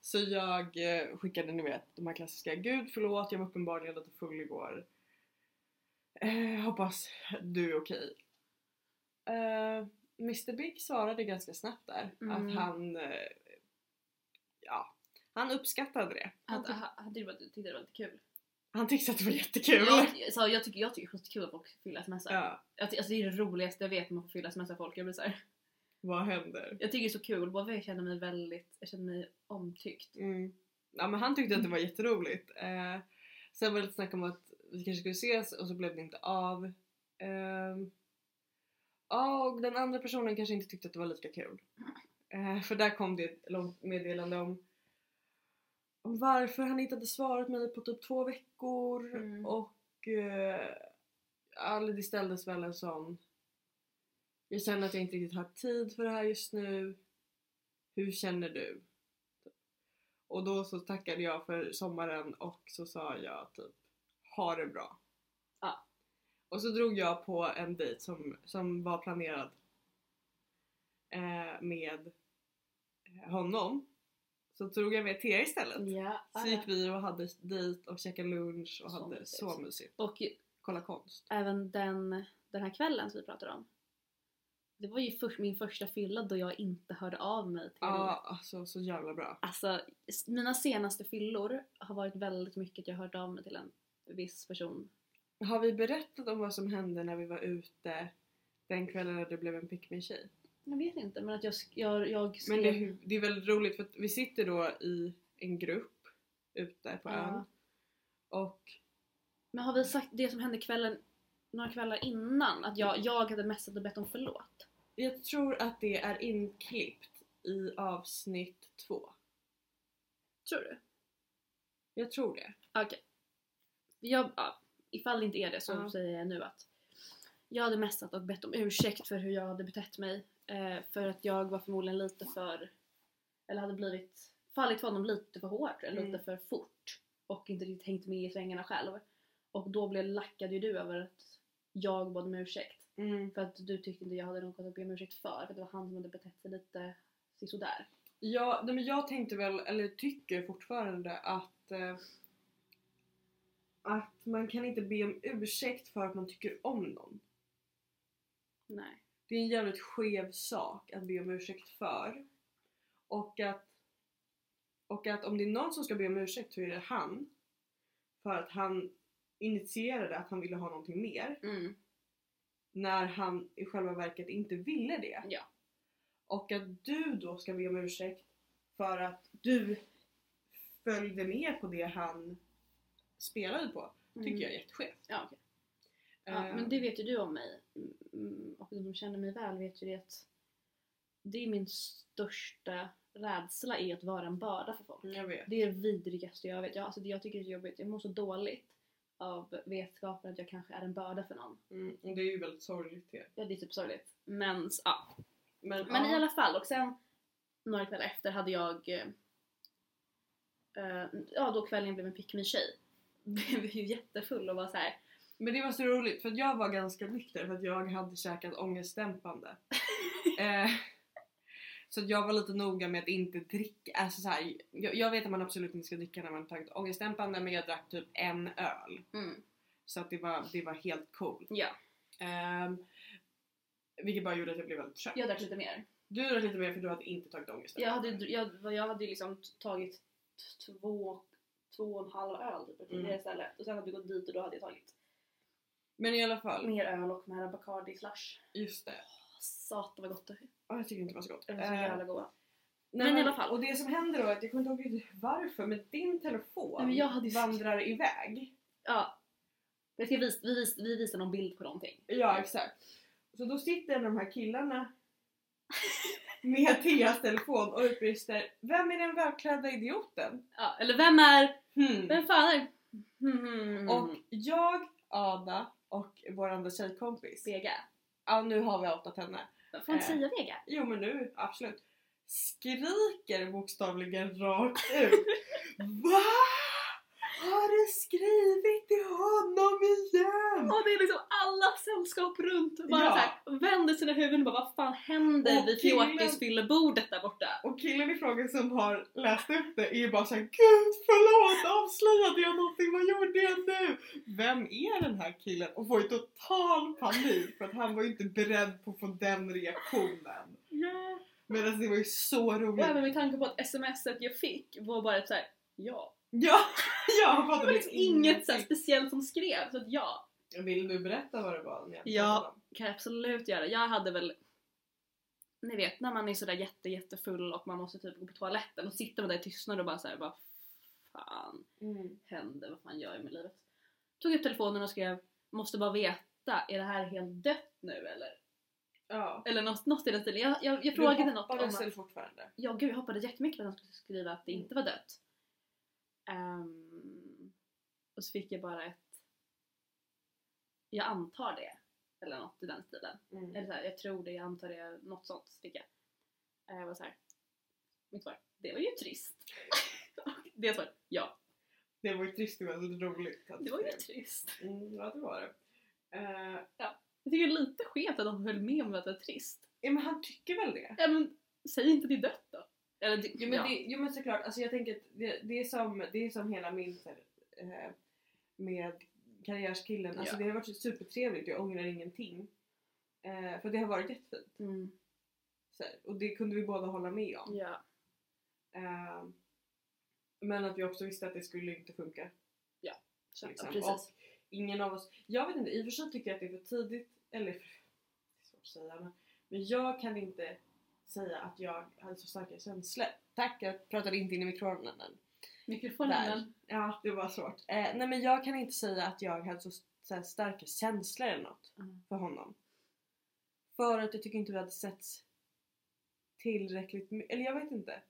A: Så jag eh, skickade ni vet de här klassiska Gud förlåt, jag var uppenbarligen lite full igår. Eh, hoppas du är okej. Eh, Mr Big svarade ganska snabbt där
B: Mm.
A: att han eh, ja, han uppskattade det.
B: Han, han, han tyckte det var- tyckte det var lite kul.
A: Han tyckte att det var jättekul.
B: Jag, så jag tycker, jag tycker det är kul att folk fyller sms.
A: Ja,
B: Jag ty- Alltså det är det roligaste jag vet, att man får fylla sms av folk. Jag, blir så här,
A: vad händer?
B: jag tycker det är så kul, bara för jag känner mig väldigt, jag känner mig omtyckt.
A: Mm. Ja men han tyckte att det var jätteroligt. Eh, sen var det lite snack om att vi kanske skulle ses och så blev det inte av. Ehm, Ja och den andra personen kanske inte tyckte att det var lika kul. Eh, för där kom det ett långt meddelande om, om varför han inte hade svarat mig på typ två veckor
B: Mm.
A: och eh, ja, det ställdes väl en sån Jag känner att jag inte riktigt har tid för det här just nu. Hur känner du? Och då så tackade jag för sommaren och så sa jag typ ha det bra.
B: Ja.
A: Och så drog jag på en dejt som, som var planerad eh, med eh, honom. Så drog jag med Thea istället.
B: Ja.
A: Så gick vi och hade dejt och käkade lunch och
B: Så
A: hade
B: mysigt.
A: så mysigt.
B: Och ju-
A: Kolla konst.
B: även den, den här kvällen som vi pratade om. Det var ju för, min första fylla då jag inte hörde av mig till
A: Ja, alltså så jävla bra.
B: Alltså, s- mina senaste fyllor har varit väldigt mycket att jag hört av mig till en viss person.
A: Har vi berättat om vad som hände när vi var ute den kvällen när du blev en pick me tjej?
B: Jag vet inte, men att jag, sk- jag, jag
A: Men
B: skrev...
A: det, det är väldigt roligt för att vi sitter då i en grupp ute på
B: Ja.
A: ön. Och
B: Men har vi sagt det som hände kvällen, några kvällar innan? Att jag, jag hade messat och bett om förlåt?
A: jag tror att det är inklippt i avsnitt två.
B: Tror du?
A: Jag tror det.
B: Okej. Jag, ja, ifall det inte är det så
A: Ja.
B: säger jag nu att jag hade messat och bett om ursäkt för hur jag hade betett mig. Eh, för att jag var förmodligen lite för, eller hade blivit, fallit för honom lite för hårt eller
A: Mm.
B: lite för fort. Och inte riktigt hängt med i svängarna själv. Och då blev lackad ju du över att jag bad om ursäkt.
A: Mm.
B: För att du tyckte inte jag hade något att be om ursäkt för. För att det var han som hade betett sig lite sisådär.
A: Ja, nej, men jag tänkte väl, eller tycker fortfarande att eh, att man kan inte be om ursäkt för att man tycker om någon.
B: Nej.
A: Det är en jävligt skev sak att be om ursäkt för. Och att, och att om det är någon som ska be om ursäkt så är det han. För att han initierade att han ville ha någonting mer.
B: Mm.
A: när han i själva verket inte ville det.
B: Ja.
A: Och att du då ska be om ursäkt för att du följde med på det han spelade på. Tycker jag är jätteskevt.
B: Ja, okej. Mm. Ja,
A: Eh,
B: men det vet ju du om mig. Mm, Och de som känner mig väl vet ju det att det är min största rädsla är att vara en börda för folk.
A: Jag vet.
B: Det är det vidrigaste jag vet. Jag, alltså, det jag tycker det är jobbigt. Jag mår så dåligt av vetskapen att jag kanske är en börda för någon.
A: Mm, och det är ju väldigt sorgligt det.
B: Ja, det är typ sorgligt. Men, s- ja.
A: Men,
B: Men
A: ja,
B: i alla fall, och sen några kvällar efter hade jag... eh, eh, ja, då kvällen blev en pick me tjej Blev ju jättefull och var så här.
A: men det var så roligt för att jag var ganska nykter för att jag hade käkat ångestdämpande. eh, så att jag var lite noga med att inte dricka. Alltså så här, jag, jag vet att man absolut inte ska dricka när man har tagit ångestdämpande men jag drack typ en öl.
B: Mm,
A: Så att det var, det var helt cool.
B: ja,
A: Ehm, vilket bara gjorde att jag blev väldigt trött.
B: jag drack lite mer.
A: Du drack lite mer för du hade inte tagit ångest.
B: Jag hade, jag, vad jag hade ju liksom t- tagit t- två, två och en halv öl typ, till
A: Mm.
B: det stället. Och sen hade vi gått dit och då hade jag tagit
A: Men i alla fall,
B: mer öl och de här Bacardi slush.
A: just det.
B: Satan vad gott det Eh.
A: Ja, jag tycker inte det var så gott.
B: är. De är så
A: Ehm,
B: jävla goda.
A: nej,
B: men i alla fall.
A: Och det som händer då är att jag kommer inte ihåg riktigt varför men din telefon
B: Nej, men jag hade ju-
A: vandrar iväg.
B: Ja. Jag ska vis, vi, vis, vi visar någon bild på någonting.
A: Ja exakt. Så då sitter en av de här killarna med Theas telefon och utbrister Vem är den välklädda idioten?
B: Ja, eller vem är...
A: Hmm.
B: Vem fan är... Mm.
A: Och jag, Ada och vår andra tjejkompis
B: Vega.
A: ja nu har vi outat henne.
B: Får man
A: Eh.
B: säga Vega?
A: Jo men nu, absolut. Skriker bokstavligen rakt ut. Va? Har du skrivit till honom igen?
B: Och det är liksom alla sällskap runt och bara
A: Ja.
B: såhär vänder sina huvuden och bara vad fan händer
A: Och
B: vid
A: killen-
B: fjortisfyllebordet där borta?
A: Och killen i frågan som har läst upp det är ju bara såhär Gud förlåt avslöjade jag någonting? Vad gjorde jag nu? Vem är den här killen? Och får ju total panik för att han var ju inte beredd på att få den reaktionen. Medan det var ju så roligt.
B: Och även med tanke på att smset jag fick var bara så här: ja,
A: Ja, jag har
B: Det
A: pratat
B: var
A: med
B: liksom inget
A: typ-
B: så här speciellt som skrevs. Så att ja,
A: Vill du berätta vad det var? ni hade
B: Ja.
A: pratat om?
B: kan jag absolut göra. Jag hade väl ni vet när man är sådär jätte jättefull och man måste typ gå på toaletten och sitta med det i tystnad och bara såhär vad fan Mm. händer, vad fan gör jag med livet? Tog upp telefonen och skrev måste bara veta, är det här helt dött nu eller?
A: Ja.
B: Eller något, något i den stilen. Jag, jag, jag
A: Du
B: frågade något om
A: hoppades
B: att,
A: väl fortfarande?
B: ja, gud, jag hoppades jättemycket på att han skulle skriva att det
A: Mm.
B: inte var dött. Ehm, och så fick jag bara ett jag antar det. Eller något i den stilen. Eller så här, jag tror det, jag antar det, något sånt fick jag. Eh, Jag var såhär, mitt svar, det var ju trist. Och det svaret, ja,
A: Det var ju trist och väldigt roligt. att-
B: det var ju trist.
A: Mm, ja, det var det. Eh,
B: Jag tycker det är lite skevt att de höll med om att det var trist.
A: ja, men han tycker väl det?
B: Ja, men, säg inte det är dött då. Eller, det,
A: Jo men,
B: ja.
A: Det, jo, men såklart, alltså jag tänker att det, det, är som, det är som hela min så här, eh, med karriärskillen. Alltså
B: Ja.
A: det har varit supertrevligt, jag ångrar ingenting. Eh, för det har varit jättefint.
B: Mm,
A: Så här, och det kunde vi båda hålla med om.
B: ja.
A: Eh, men att vi också visste att det skulle inte funka.
B: Så,
A: liksom.
B: ja, precis.
A: Och ingen av oss, jag vet inte, i och för sig tycker jag att det är för tidigt, eller för, det är svårt att säga men, men jag kan inte säga att jag hade så starka känslor. Tack, jag pratade inte in i mikrofonen än.
B: Mikrofonen.
A: Där. Ja, det var svårt. Eh, nej men jag kan inte säga att jag hade så, så här, starka känslor eller något
B: Mm.
A: för honom. För att jag tycker inte vi hade sett tillräckligt my- eller jag vet inte.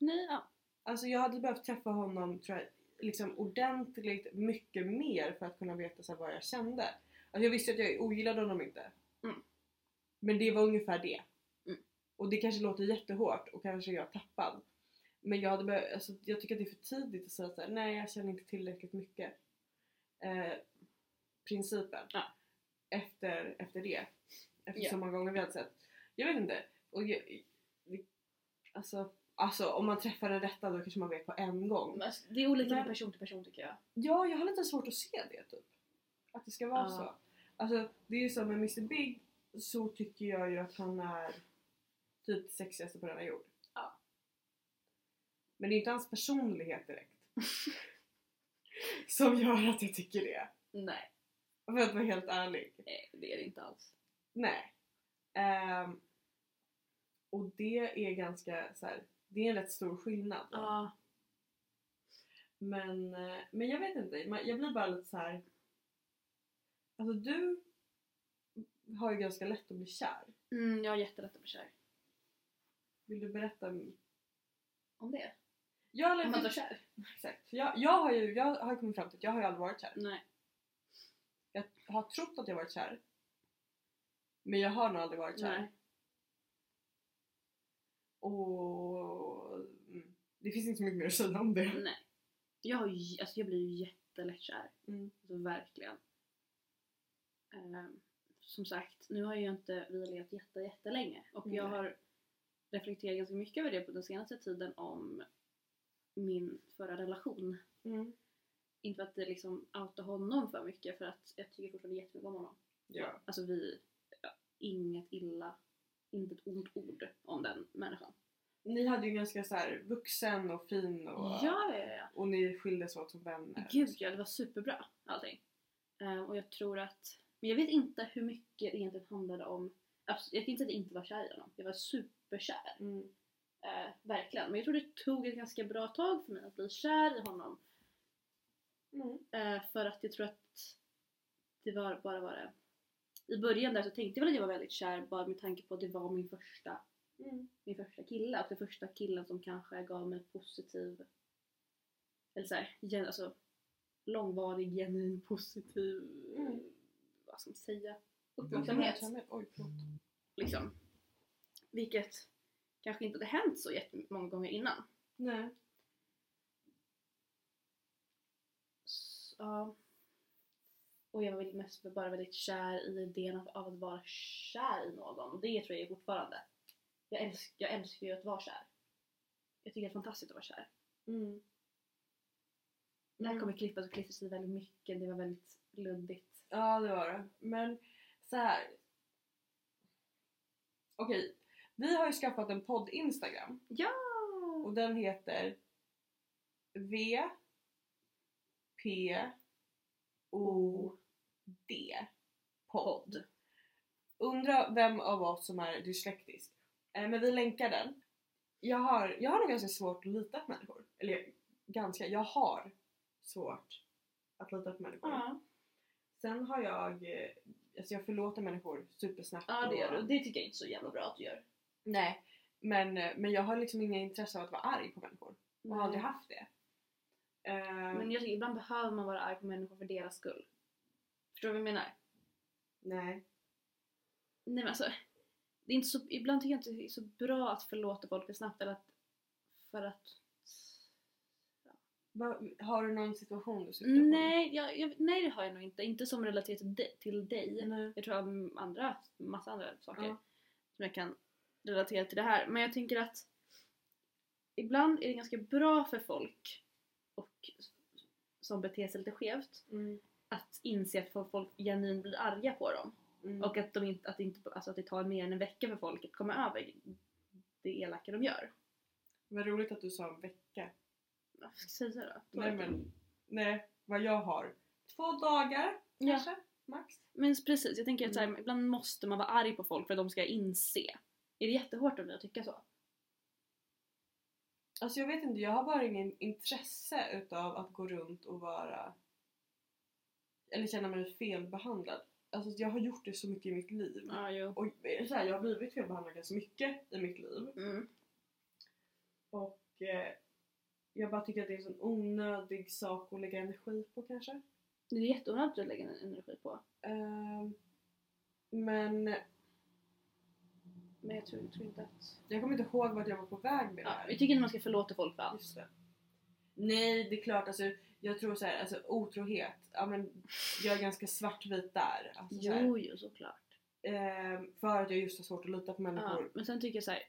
B: Nej, ja.
A: Alltså jag hade behövt träffa honom tror jag, liksom ordentligt mycket mer för att kunna veta så här, vad jag kände. Alltså jag visste att jag ogillade honom inte.
B: Mm.
A: Men det var ungefär det.
B: Mm.
A: Och det kanske låter jättehårt och kanske är jag tappad. Men jag, hade behö- alltså, jag tycker att det är för tidigt att säga så här, nej jag känner inte tillräckligt mycket. Eh, principen.
B: Ja.
A: Efter, efter det. Efter
B: Ja.
A: så många gånger vi hade sett. Jag vet inte. Och jag, vi- alltså, alltså om man träffar den rätta då kanske man vet på en gång.
B: Men alltså, det är olika
A: Men-
B: från person till person tycker jag.
A: Ja, jag har lite svårt att se det typ. Att det ska vara
B: Ja.
A: så. Alltså det är ju som med Mr Big så tycker jag ju att han är typ det sexigaste på denna jord.
B: Ja.
A: Men det är inte hans personlighet direkt. som gör att jag tycker det.
B: Nej,
A: För att vara helt ärlig.
B: nej, det är det inte alls.
A: Nej. Ehm, och det är ganska så här, det är en rätt stor skillnad.
B: Ja,
A: Men, eh, men jag vet inte, man- jag blir bara lite så här. Alltså du har ju ganska lätt att bli kär.
B: mm, jag har jättelätt att bli kär.
A: Vill du berätta? om-
B: Om det?
A: Jag,
B: Om att
A: eller,
B: vara kär?
A: exakt. Jag, jag har ju jag har ju kommit fram till att jag har ju aldrig varit kär.
B: Nej.
A: Jag har trott att jag varit kär. Men jag har nog aldrig varit kär.
B: Nej.
A: Och mm, det finns inte så mycket mer att säga om det.
B: Nej. Jag, har ju, alltså jag blir ju jättelätt kär.
A: Mm.
B: Alltså, verkligen. Ehm, som sagt, nu har ju inte vi levt jätte, jättelänge och jag
A: Nej.
B: har reflekterat ganska mycket över det på den senaste tiden om min förra relation.
A: Mm.
B: Inte för att det liksom outa honom för mycket för att jag tycker fortfarande jättemycket om honom.
A: Ja.
B: Alltså vi, ja, inget illa, inte ett ont ord om den människan.
A: Ni hade ju ganska så här vuxen och fin och,
B: Ja, ja, ja.
A: och ni skildes åt som vänner.
B: Gud ja, det var superbra allting. Eh, och jag tror att, men jag vet inte hur mycket det egentligen handlade om, Abs- jag kan inte säga att jag inte var kär i honom, jag var superkär.
A: Mm.
B: Eh, verkligen. Men jag tror det tog ett ganska bra tag för mig att bli kär i honom.
A: Mm.
B: Eh, för att jag tror att det var bara var det. I början där så tänkte jag väl att jag var väldigt kär bara med tanke på att det var min första,
A: Mm.
B: min första kille och den första killen som kanske gav mig positiv eller såhär, gen, alltså långvarig, genuin, positiv
A: Mm.
B: vad ska man säga, uppmärksamhet.
A: Uppmärksamhet. Oj, förlåt.
B: Liksom. Vilket kanske inte hade hänt så jättemånga gånger innan.
A: Nej.
B: S- Ja. Och jag var väl mest bara väldigt kär i idén av- av att vara kär i någon. Och det tror jag fortfarande. Jag, älsk, jag älskar ju att vara kär. Jag tycker det är fantastiskt att vara kär.
A: Mm.
B: Det här
A: Mm.
B: kommer klippas och klistras i väldigt mycket. Det var väldigt luddigt.
A: Ja, det var det. Men så här. Okej, vi har ju skaffat en podd Instagram
B: Ja!
A: och den heter V P O D podd. Undrar vem av oss som är dyslektisk. Eh, men vi länkar den. Jag har, jag har nog ganska svårt att lita på människor. Eller ganska, jag har svårt att lita på människor.
C: Ja,
A: Sen har jag, eh, alltså jag förlåter människor supersnabbt.
B: Ja det gör
A: och-
B: du. Det tycker jag inte är så jävla bra att du gör.
A: Nej, men, eh, men jag har liksom inga intresse av att vara arg på människor. Och har aldrig haft det. Eh,
B: Men jag tycker ibland behöver man vara arg på människor för deras skull. Förstår du vad jag menar?
A: Nej.
B: Nej men alltså, det är inte så, ibland tycker jag inte det är så bra att förlåta folk för snabbt eller att, för att...
A: Va, har du någon situation du syftar
B: Nej, jag, jag, nej det har jag nog inte. Inte som relaterat till dig. Till dig.
A: på? Nej.
B: Jag tror jag har andra, massa andra saker
A: Ja.
B: som jag kan relatera till det här. Men jag tänker att ibland är det ganska bra för folk och, som beter sig lite skevt
A: Mm.
B: att inse att folk- folk genuint blir arga på dem.
A: Mm.
B: Och att, de inte, att, det inte, alltså att det tar mer än en vecka för folk att komma över det elaka de gör.
A: Vad roligt att du sa en vecka.
B: Varför ska jag säga då?
A: Nej men, nej, vad jag har. Två dagar
B: Ja.
A: kanske, max.
B: Men precis, jag tänker att så
A: Mm.
B: här, ibland måste man vara arg på folk för att de ska inse. Är det jättehårt av mig att tycka så?
A: Alltså jag vet inte, jag har bara ingen intresse utav att gå runt och vara eller känna mig felbehandlad. Alltså jag har gjort det så mycket i mitt liv.
B: Ja, jo.
A: Och eh, så här, jag har blivit felbehandlad ganska mycket i mitt liv.
B: Mm.
A: Och eh, jag bara tycker att det är en sån onödig sak att lägga energi på kanske.
B: Det är jätteonödigt att lägga energi på.
A: Ehm, men
B: Men jag tror, tror inte att...
A: jag kommer inte ihåg vart jag var på väg med det
B: Ja,
A: här.
B: jag tycker inte man ska förlåta folk för allt.
A: Just det. Nej, det är klart. Alltså, jag tror så här, alltså otrohet. Ja, men jag är ganska svartvit där. Alltså, så här,
B: Jo, jo såklart.
A: ehm, för att jag just har svårt att lita på
B: Ja,
A: människor.
B: men sen tycker jag så här,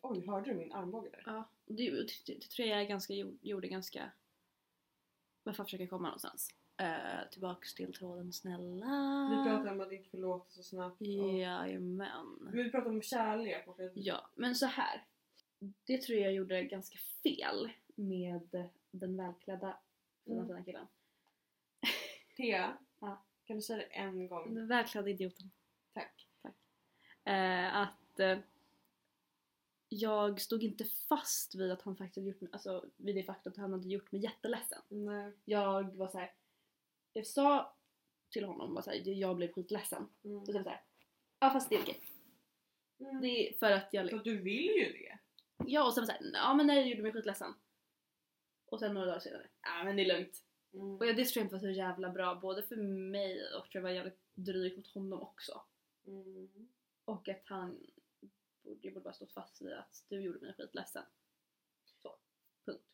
A: Oj, hörde du min armbåge där?
B: ja, det, det, det tror jag jag ganska, gjorde- gjorde ganska... Varför försöker komma någonstans? Eh, tillbaks till tråden snälla.
A: Vi pratade om att inte förlåta så snabbt. Och,
B: Jajamän.
A: vi pratade om kärlek. Och att,
B: Ja, men så här. Det tror jag gjorde ganska fel med den välklädda fina
A: Mm.
B: fina killen.
A: Thea,
B: Ja.
A: kan du säga det en gång?
B: Den välklädda idioten.
A: Tack.
B: Eh, att eh, jag stod inte fast vid att han faktiskt hade gjort mig, alltså vid det faktum att han hade gjort mig jätteledsen.
A: Nej.
B: Jag var så här. jag sa till honom var så här, jag blev skitledsen.
A: Mm.
B: Och sen så här, ja fast det är okej.
A: Mm.
B: Det är för att jag liksom-
A: För att du vill ju det.
B: Ja och sen var det såhär, ja men nej det gjorde mig skitledsen. Och sen några dagar senare, ja men det är lugnt.
A: Mm.
B: Och jag, det tror jag inte var så jävla bra både för mig och tror jag var jävligt dryg mot honom också.
A: Mm.
B: Och att han, borde- jag borde bara stått fast vid att du gjorde mig skitledsen. Så, punkt.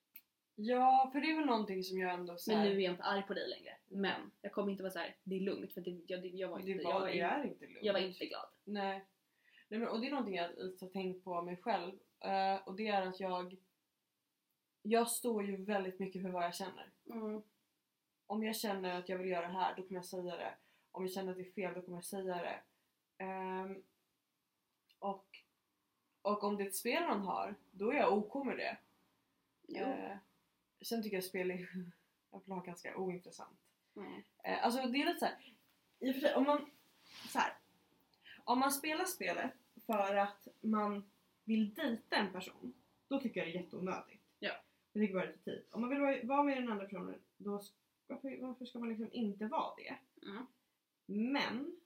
A: Ja, för det är väl någonting som jag ändå... Så
B: Men
A: här,
B: nu är jag inte arg på dig längre. Men jag kommer inte vara såhär, det är lugnt för det, jag, det, jag, var,
A: det
B: inte, jag,
A: var,
B: var,
A: det
B: in,
A: är inte lugnt.
B: jag var inte glad.
A: Nej. Nej men, och det är någonting jag har tänkt på mig själv. eh, och det är att jag... Jag står ju väldigt mycket för vad jag känner.
B: Mm.
A: Om jag känner att jag vill göra det här, då kommer jag säga det. Om jag känner att det är fel, då kommer jag säga det. Ehm, och, och om det är ett spel man har, då är jag OK med det.
B: Jo.
A: Eh, sen tycker jag spel är överlag ganska ointressant.
B: Mm.
A: Eh, alltså det är lite såhär, i och för sig, om man, så här, om man spelar spelet för att man vill dejta en person, då tycker jag det är jätteonödigt.
B: Ja.
A: Jag tycker bara det är tid. Om man vill vara- vara med den andra personen, då, s- varför, varför ska man liksom inte vara det?
B: Mm.
A: Men,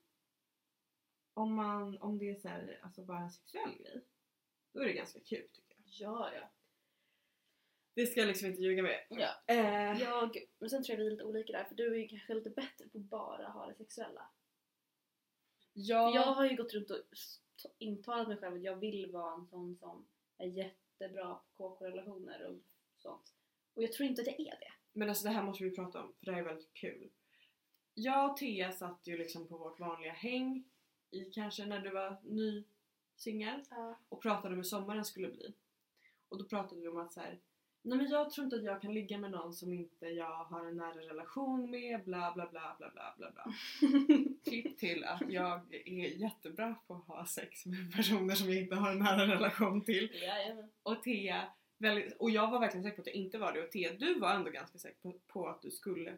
A: om, man, om det är så här, alltså bara en sexuell grej, då är det ganska kul tycker jag.
B: Ja, ja.
A: Det ska jag liksom inte ljuga med.
B: ja.
A: Eh,
B: Jag, men sen tror jag vi är lite olika där för du är ju kanske lite bättre på att bara ha det sexuella. För Jag har ju gått runt och s- t- intalat mig själv att jag vill vara en sån som är jättebra på kk-relationer och sånt. Och jag tror inte att jag är det.
A: Men alltså det här måste vi prata om för det här är väldigt kul. Jag och Thea satt ju liksom på vårt vanliga häng i kanske när du var ny singel och pratade om hur sommaren skulle bli. Och då pratade vi om att så här, nej men jag tror inte att jag kan ligga med någon som inte jag har en nära relation med bla bla bla bla bla bla bla. Klipp till att jag är jättebra på att ha sex med personer som jag inte har en nära relation till.
B: Jajamän.
A: Och Thea, Väldigt, och jag var verkligen säker på att jag inte var det och Thea, du var ändå ganska säker på, på att du skulle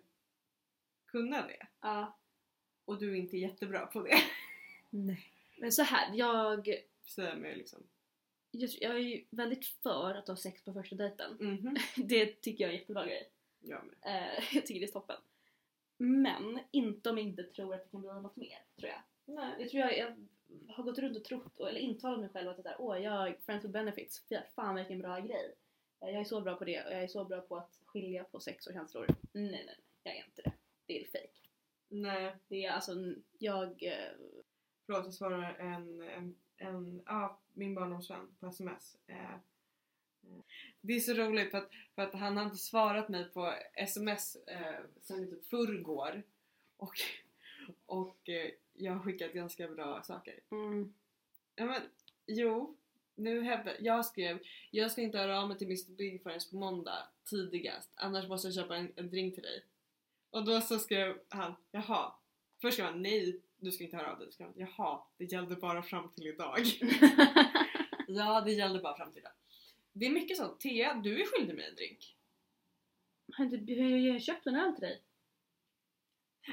A: kunna det.
B: Ja.
A: Och du är inte jättebra på det.
B: Nej. Men så här, jag,
A: Säger mig liksom.
B: jag, jag är ju väldigt för att ha sex på första dejten.
A: Mhm.
B: Det tycker jag är en jättebra grej.
A: Jag med.
B: Eh, jag tycker det är toppen. Men inte om jag inte tror att det kan bli något mer, tror jag.
D: Nej.
B: Jag tror jag, jag har gått runt och trott, eller intalat mig själv att det där, åh, jag friends with benefits, fy fan vilken bra grej. Eh, Jag är så bra på det och jag är så bra på att skilja på sex och känslor. Nej, nej, nej, jag är inte det. Det är fake.
A: Nej,
B: Det är alltså, n- jag... eh,
A: förlåt jag svarar en, en, en ja, min barndomsvän på sms. Eh, eh. det är så roligt för att, för att han har inte svarat mig på sms eh, sen typ förrgår. Och, och eh, jag har skickat ganska bra saker.
E: Mm.
A: Ja, men, jo, nu hävdar jag skrev jag ska inte höra av mig till Mr Big förrän på måndag tidigast annars måste jag köpa en, en drink till dig. Och då så skrev han jaha. Först skrev han nej, du ska inte höra av dig. Så skrev han, jaha, det gällde bara fram till idag. ja, det gällde bara fram till idag. Det är mycket sånt. Thea, du är skyldig mig en drink.
B: Har inte- har jag jag har köpt en öl till dig?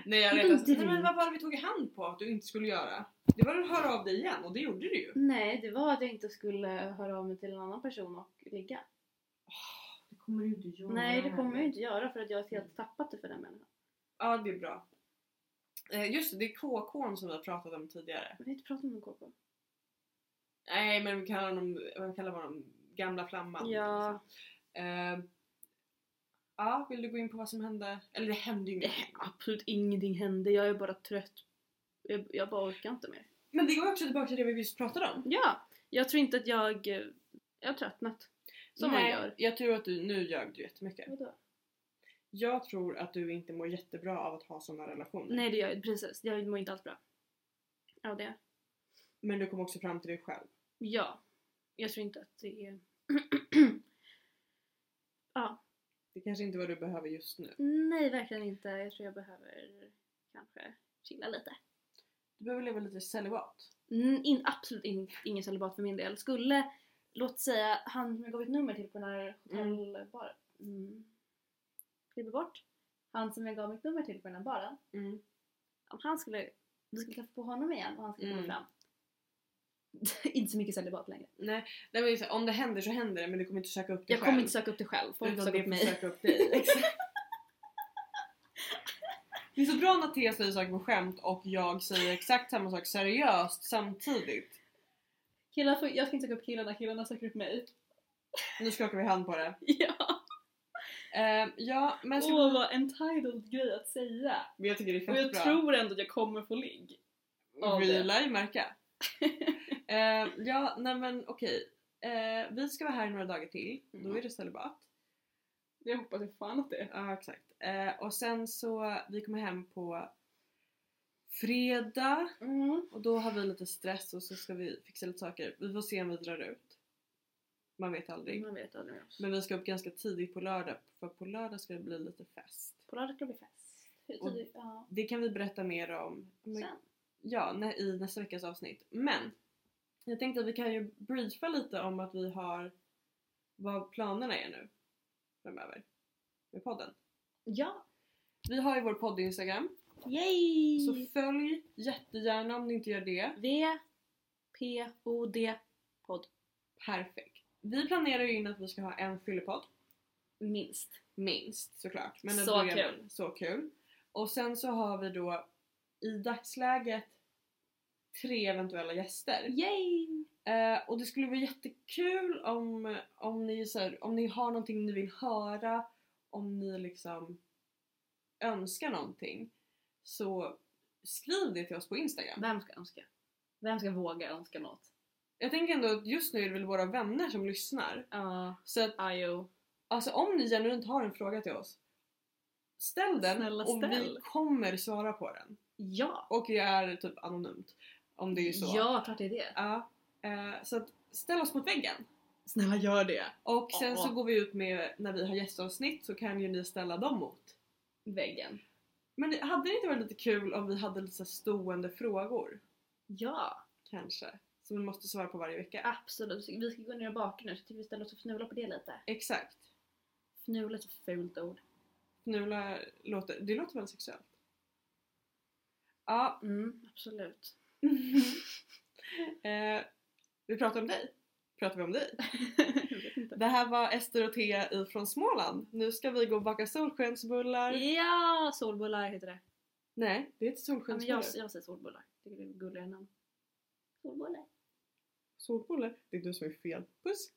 A: Nej, jag vet
B: En
A: alltså, nej,
B: drink?
A: men vad var det vi tog i hand på att du inte skulle göra? Det var att höra av dig igen och det gjorde du ju.
B: Nej, det var att jag inte skulle höra av mig till en annan person och ligga.
A: Det kommer du inte göra.
B: Nej, det kommer jag ju inte göra för att jag har helt tappat det för den människan.
A: Ja, det är bra. Eh, just det, det är KK som vi har pratat om tidigare.
B: Vi har inte pratat om någon KK.
A: Nej, men vi kallar honom, vad kallar man honom? Gamla Flamman.
B: Ja.
A: Eh, ja, vill du gå in på vad som hände? Eller det hände ju inget.
B: Absolut ingenting hände, jag är bara trött. Jag, jag bara orkar inte mer.
A: Men det går också tillbaka till det vi just pratade om.
B: Ja, jag tror inte att jag... eh, Jag har tröttnat. Som man
A: Nej,
B: gör.
A: Jag tror att du, nu ljög du jättemycket.
B: Vadå?
A: Jag tror att du inte mår jättebra av att ha sådana relationer.
B: Nej, det gör jag Precis, jag mår inte alls bra. Ja, det.
A: Men du kom också fram till dig själv.
B: Ja. Jag tror inte att det är... ja.
A: Det kanske inte är vad du behöver just nu.
B: Nej, verkligen inte. Jag tror jag behöver kanske chilla lite.
A: Du behöver leva lite celibat.
B: Mm, in, absolut in, ingen celibat för min del. Skulle, låt säga, han som jag gav ett nummer till på den här hotellbaren. Mm. Klipper bort. Han som jag gav mitt nummer till på den här baren.
A: Mm.
B: Om han skulle, vi skulle träffa på honom igen och han skulle
A: Mm.
B: komma fram. inte så mycket celibat längre.
A: Nej, men liksom, om det händer så händer det men du kommer inte söka upp dig
B: Jag
A: själv.
B: kommer inte söka upp det själv. Folk
A: Utan
B: söker
A: det
B: upp
A: får
B: mig.
A: söka upp dig. Exakt. Det är så bra när Thea säger saker på skämt och jag säger exakt samma sak seriöst samtidigt.
B: Killar får, jag ska inte söka upp killarna, killarna söker upp mig.
A: Nu skakar vi hand på det.
B: Ja!
A: Eh, ja, men
B: Åh
A: ska...
B: vad entitled grej att säga.
A: Men jag tycker det är
B: Och
A: fett
B: jag
A: bra.
B: tror ändå att jag kommer få ligg. av
A: vi
B: det.
A: lär ju märka. Eh, ja, nej men okej. Eh, vi ska vara här några dagar till.
B: Mm.
A: Då är det celibat.
B: Jag hoppas ju fan att det är.
A: Ja, exakt. Eh, och sen så, vi kommer hem på fredag.
B: Mm.
A: Och då har vi lite stress och så ska vi fixa lite saker. Vi får se om vi drar ut. Man vet aldrig.
B: Man vet aldrig med oss.
A: Men vi ska upp ganska tidigt på lördag för på lördag ska det bli lite fest.
B: På lördag ska det bli fest. Hur
A: Och-
B: tidigt? Ja.
A: Det kan vi berätta mer om men-
B: Sen.
A: ja, nä- i nästa veckas avsnitt. Men jag tänkte att vi kan ju briefa lite om att vi har vad planerna är nu framöver med podden.
B: Ja!
A: Vi har ju vår podd Instagram
B: Yay!
A: så följ jättegärna om ni inte gör det.
B: V P O D podd.
A: Perfekt. Vi planerar ju in att vi ska ha en fyllepodd.
B: Minst.
A: Minst såklart. Men att
B: Så
A: börja med-
B: kul.
A: Så kul. Och sen så har vi då i dagsläget tre eventuella gäster.
B: Yay!
A: Eh, och det skulle vara jättekul om, om, ni, så här, om ni har någonting ni vill höra, om ni liksom önskar någonting. Så skriv det till oss på Instagram.
B: Vem ska önska? Vem ska våga önska något?
A: Jag tänker ändå att just nu är det väl våra vänner som lyssnar.
B: Ja.
A: Så att
B: Ajo.
A: Alltså om ni genuint har en fråga till oss Ställ den
B: Snälla,
A: och vi
B: ställ.
A: kommer svara på den.
B: Ja!
A: Och det är typ anonymt. Om det är så.
B: Ja, klart det är det.
A: Ja, eh, så att ställ oss mot väggen.
B: Snälla gör det!
A: Och sen
B: Ja.
A: så går vi ut med, när vi har gästavsnitt så kan ju ni ställa dem mot.
B: Väggen.
A: Men det- hade det inte varit lite kul om vi hade lite så här stående frågor?
B: Ja!
A: Kanske. Som du måste svara på varje vecka.
B: Absolut. Vi ska gå ner och baka nu så jag tycker vi ställer oss och fnular på det lite.
A: Exakt.
B: Fnula är ett så fult ord.
A: Fnula låter, det låter väldigt sexuellt. Ja,
B: Mm, absolut.
A: eh, vi pratar om dig. Pratar vi om dig?
B: jag vet inte.
A: Det här var Ester och Thea ifrån Småland. Nu ska vi gå och baka solskensbullar.
B: Ja, solbullar heter det.
A: Nej, det är inte
B: Ja, men
A: solskensbullar.
B: jag, jag säger solbullar. Jag tycker det är gulligare namn. Solbullar.
A: Solbullar? Det är du som är fel. Puss!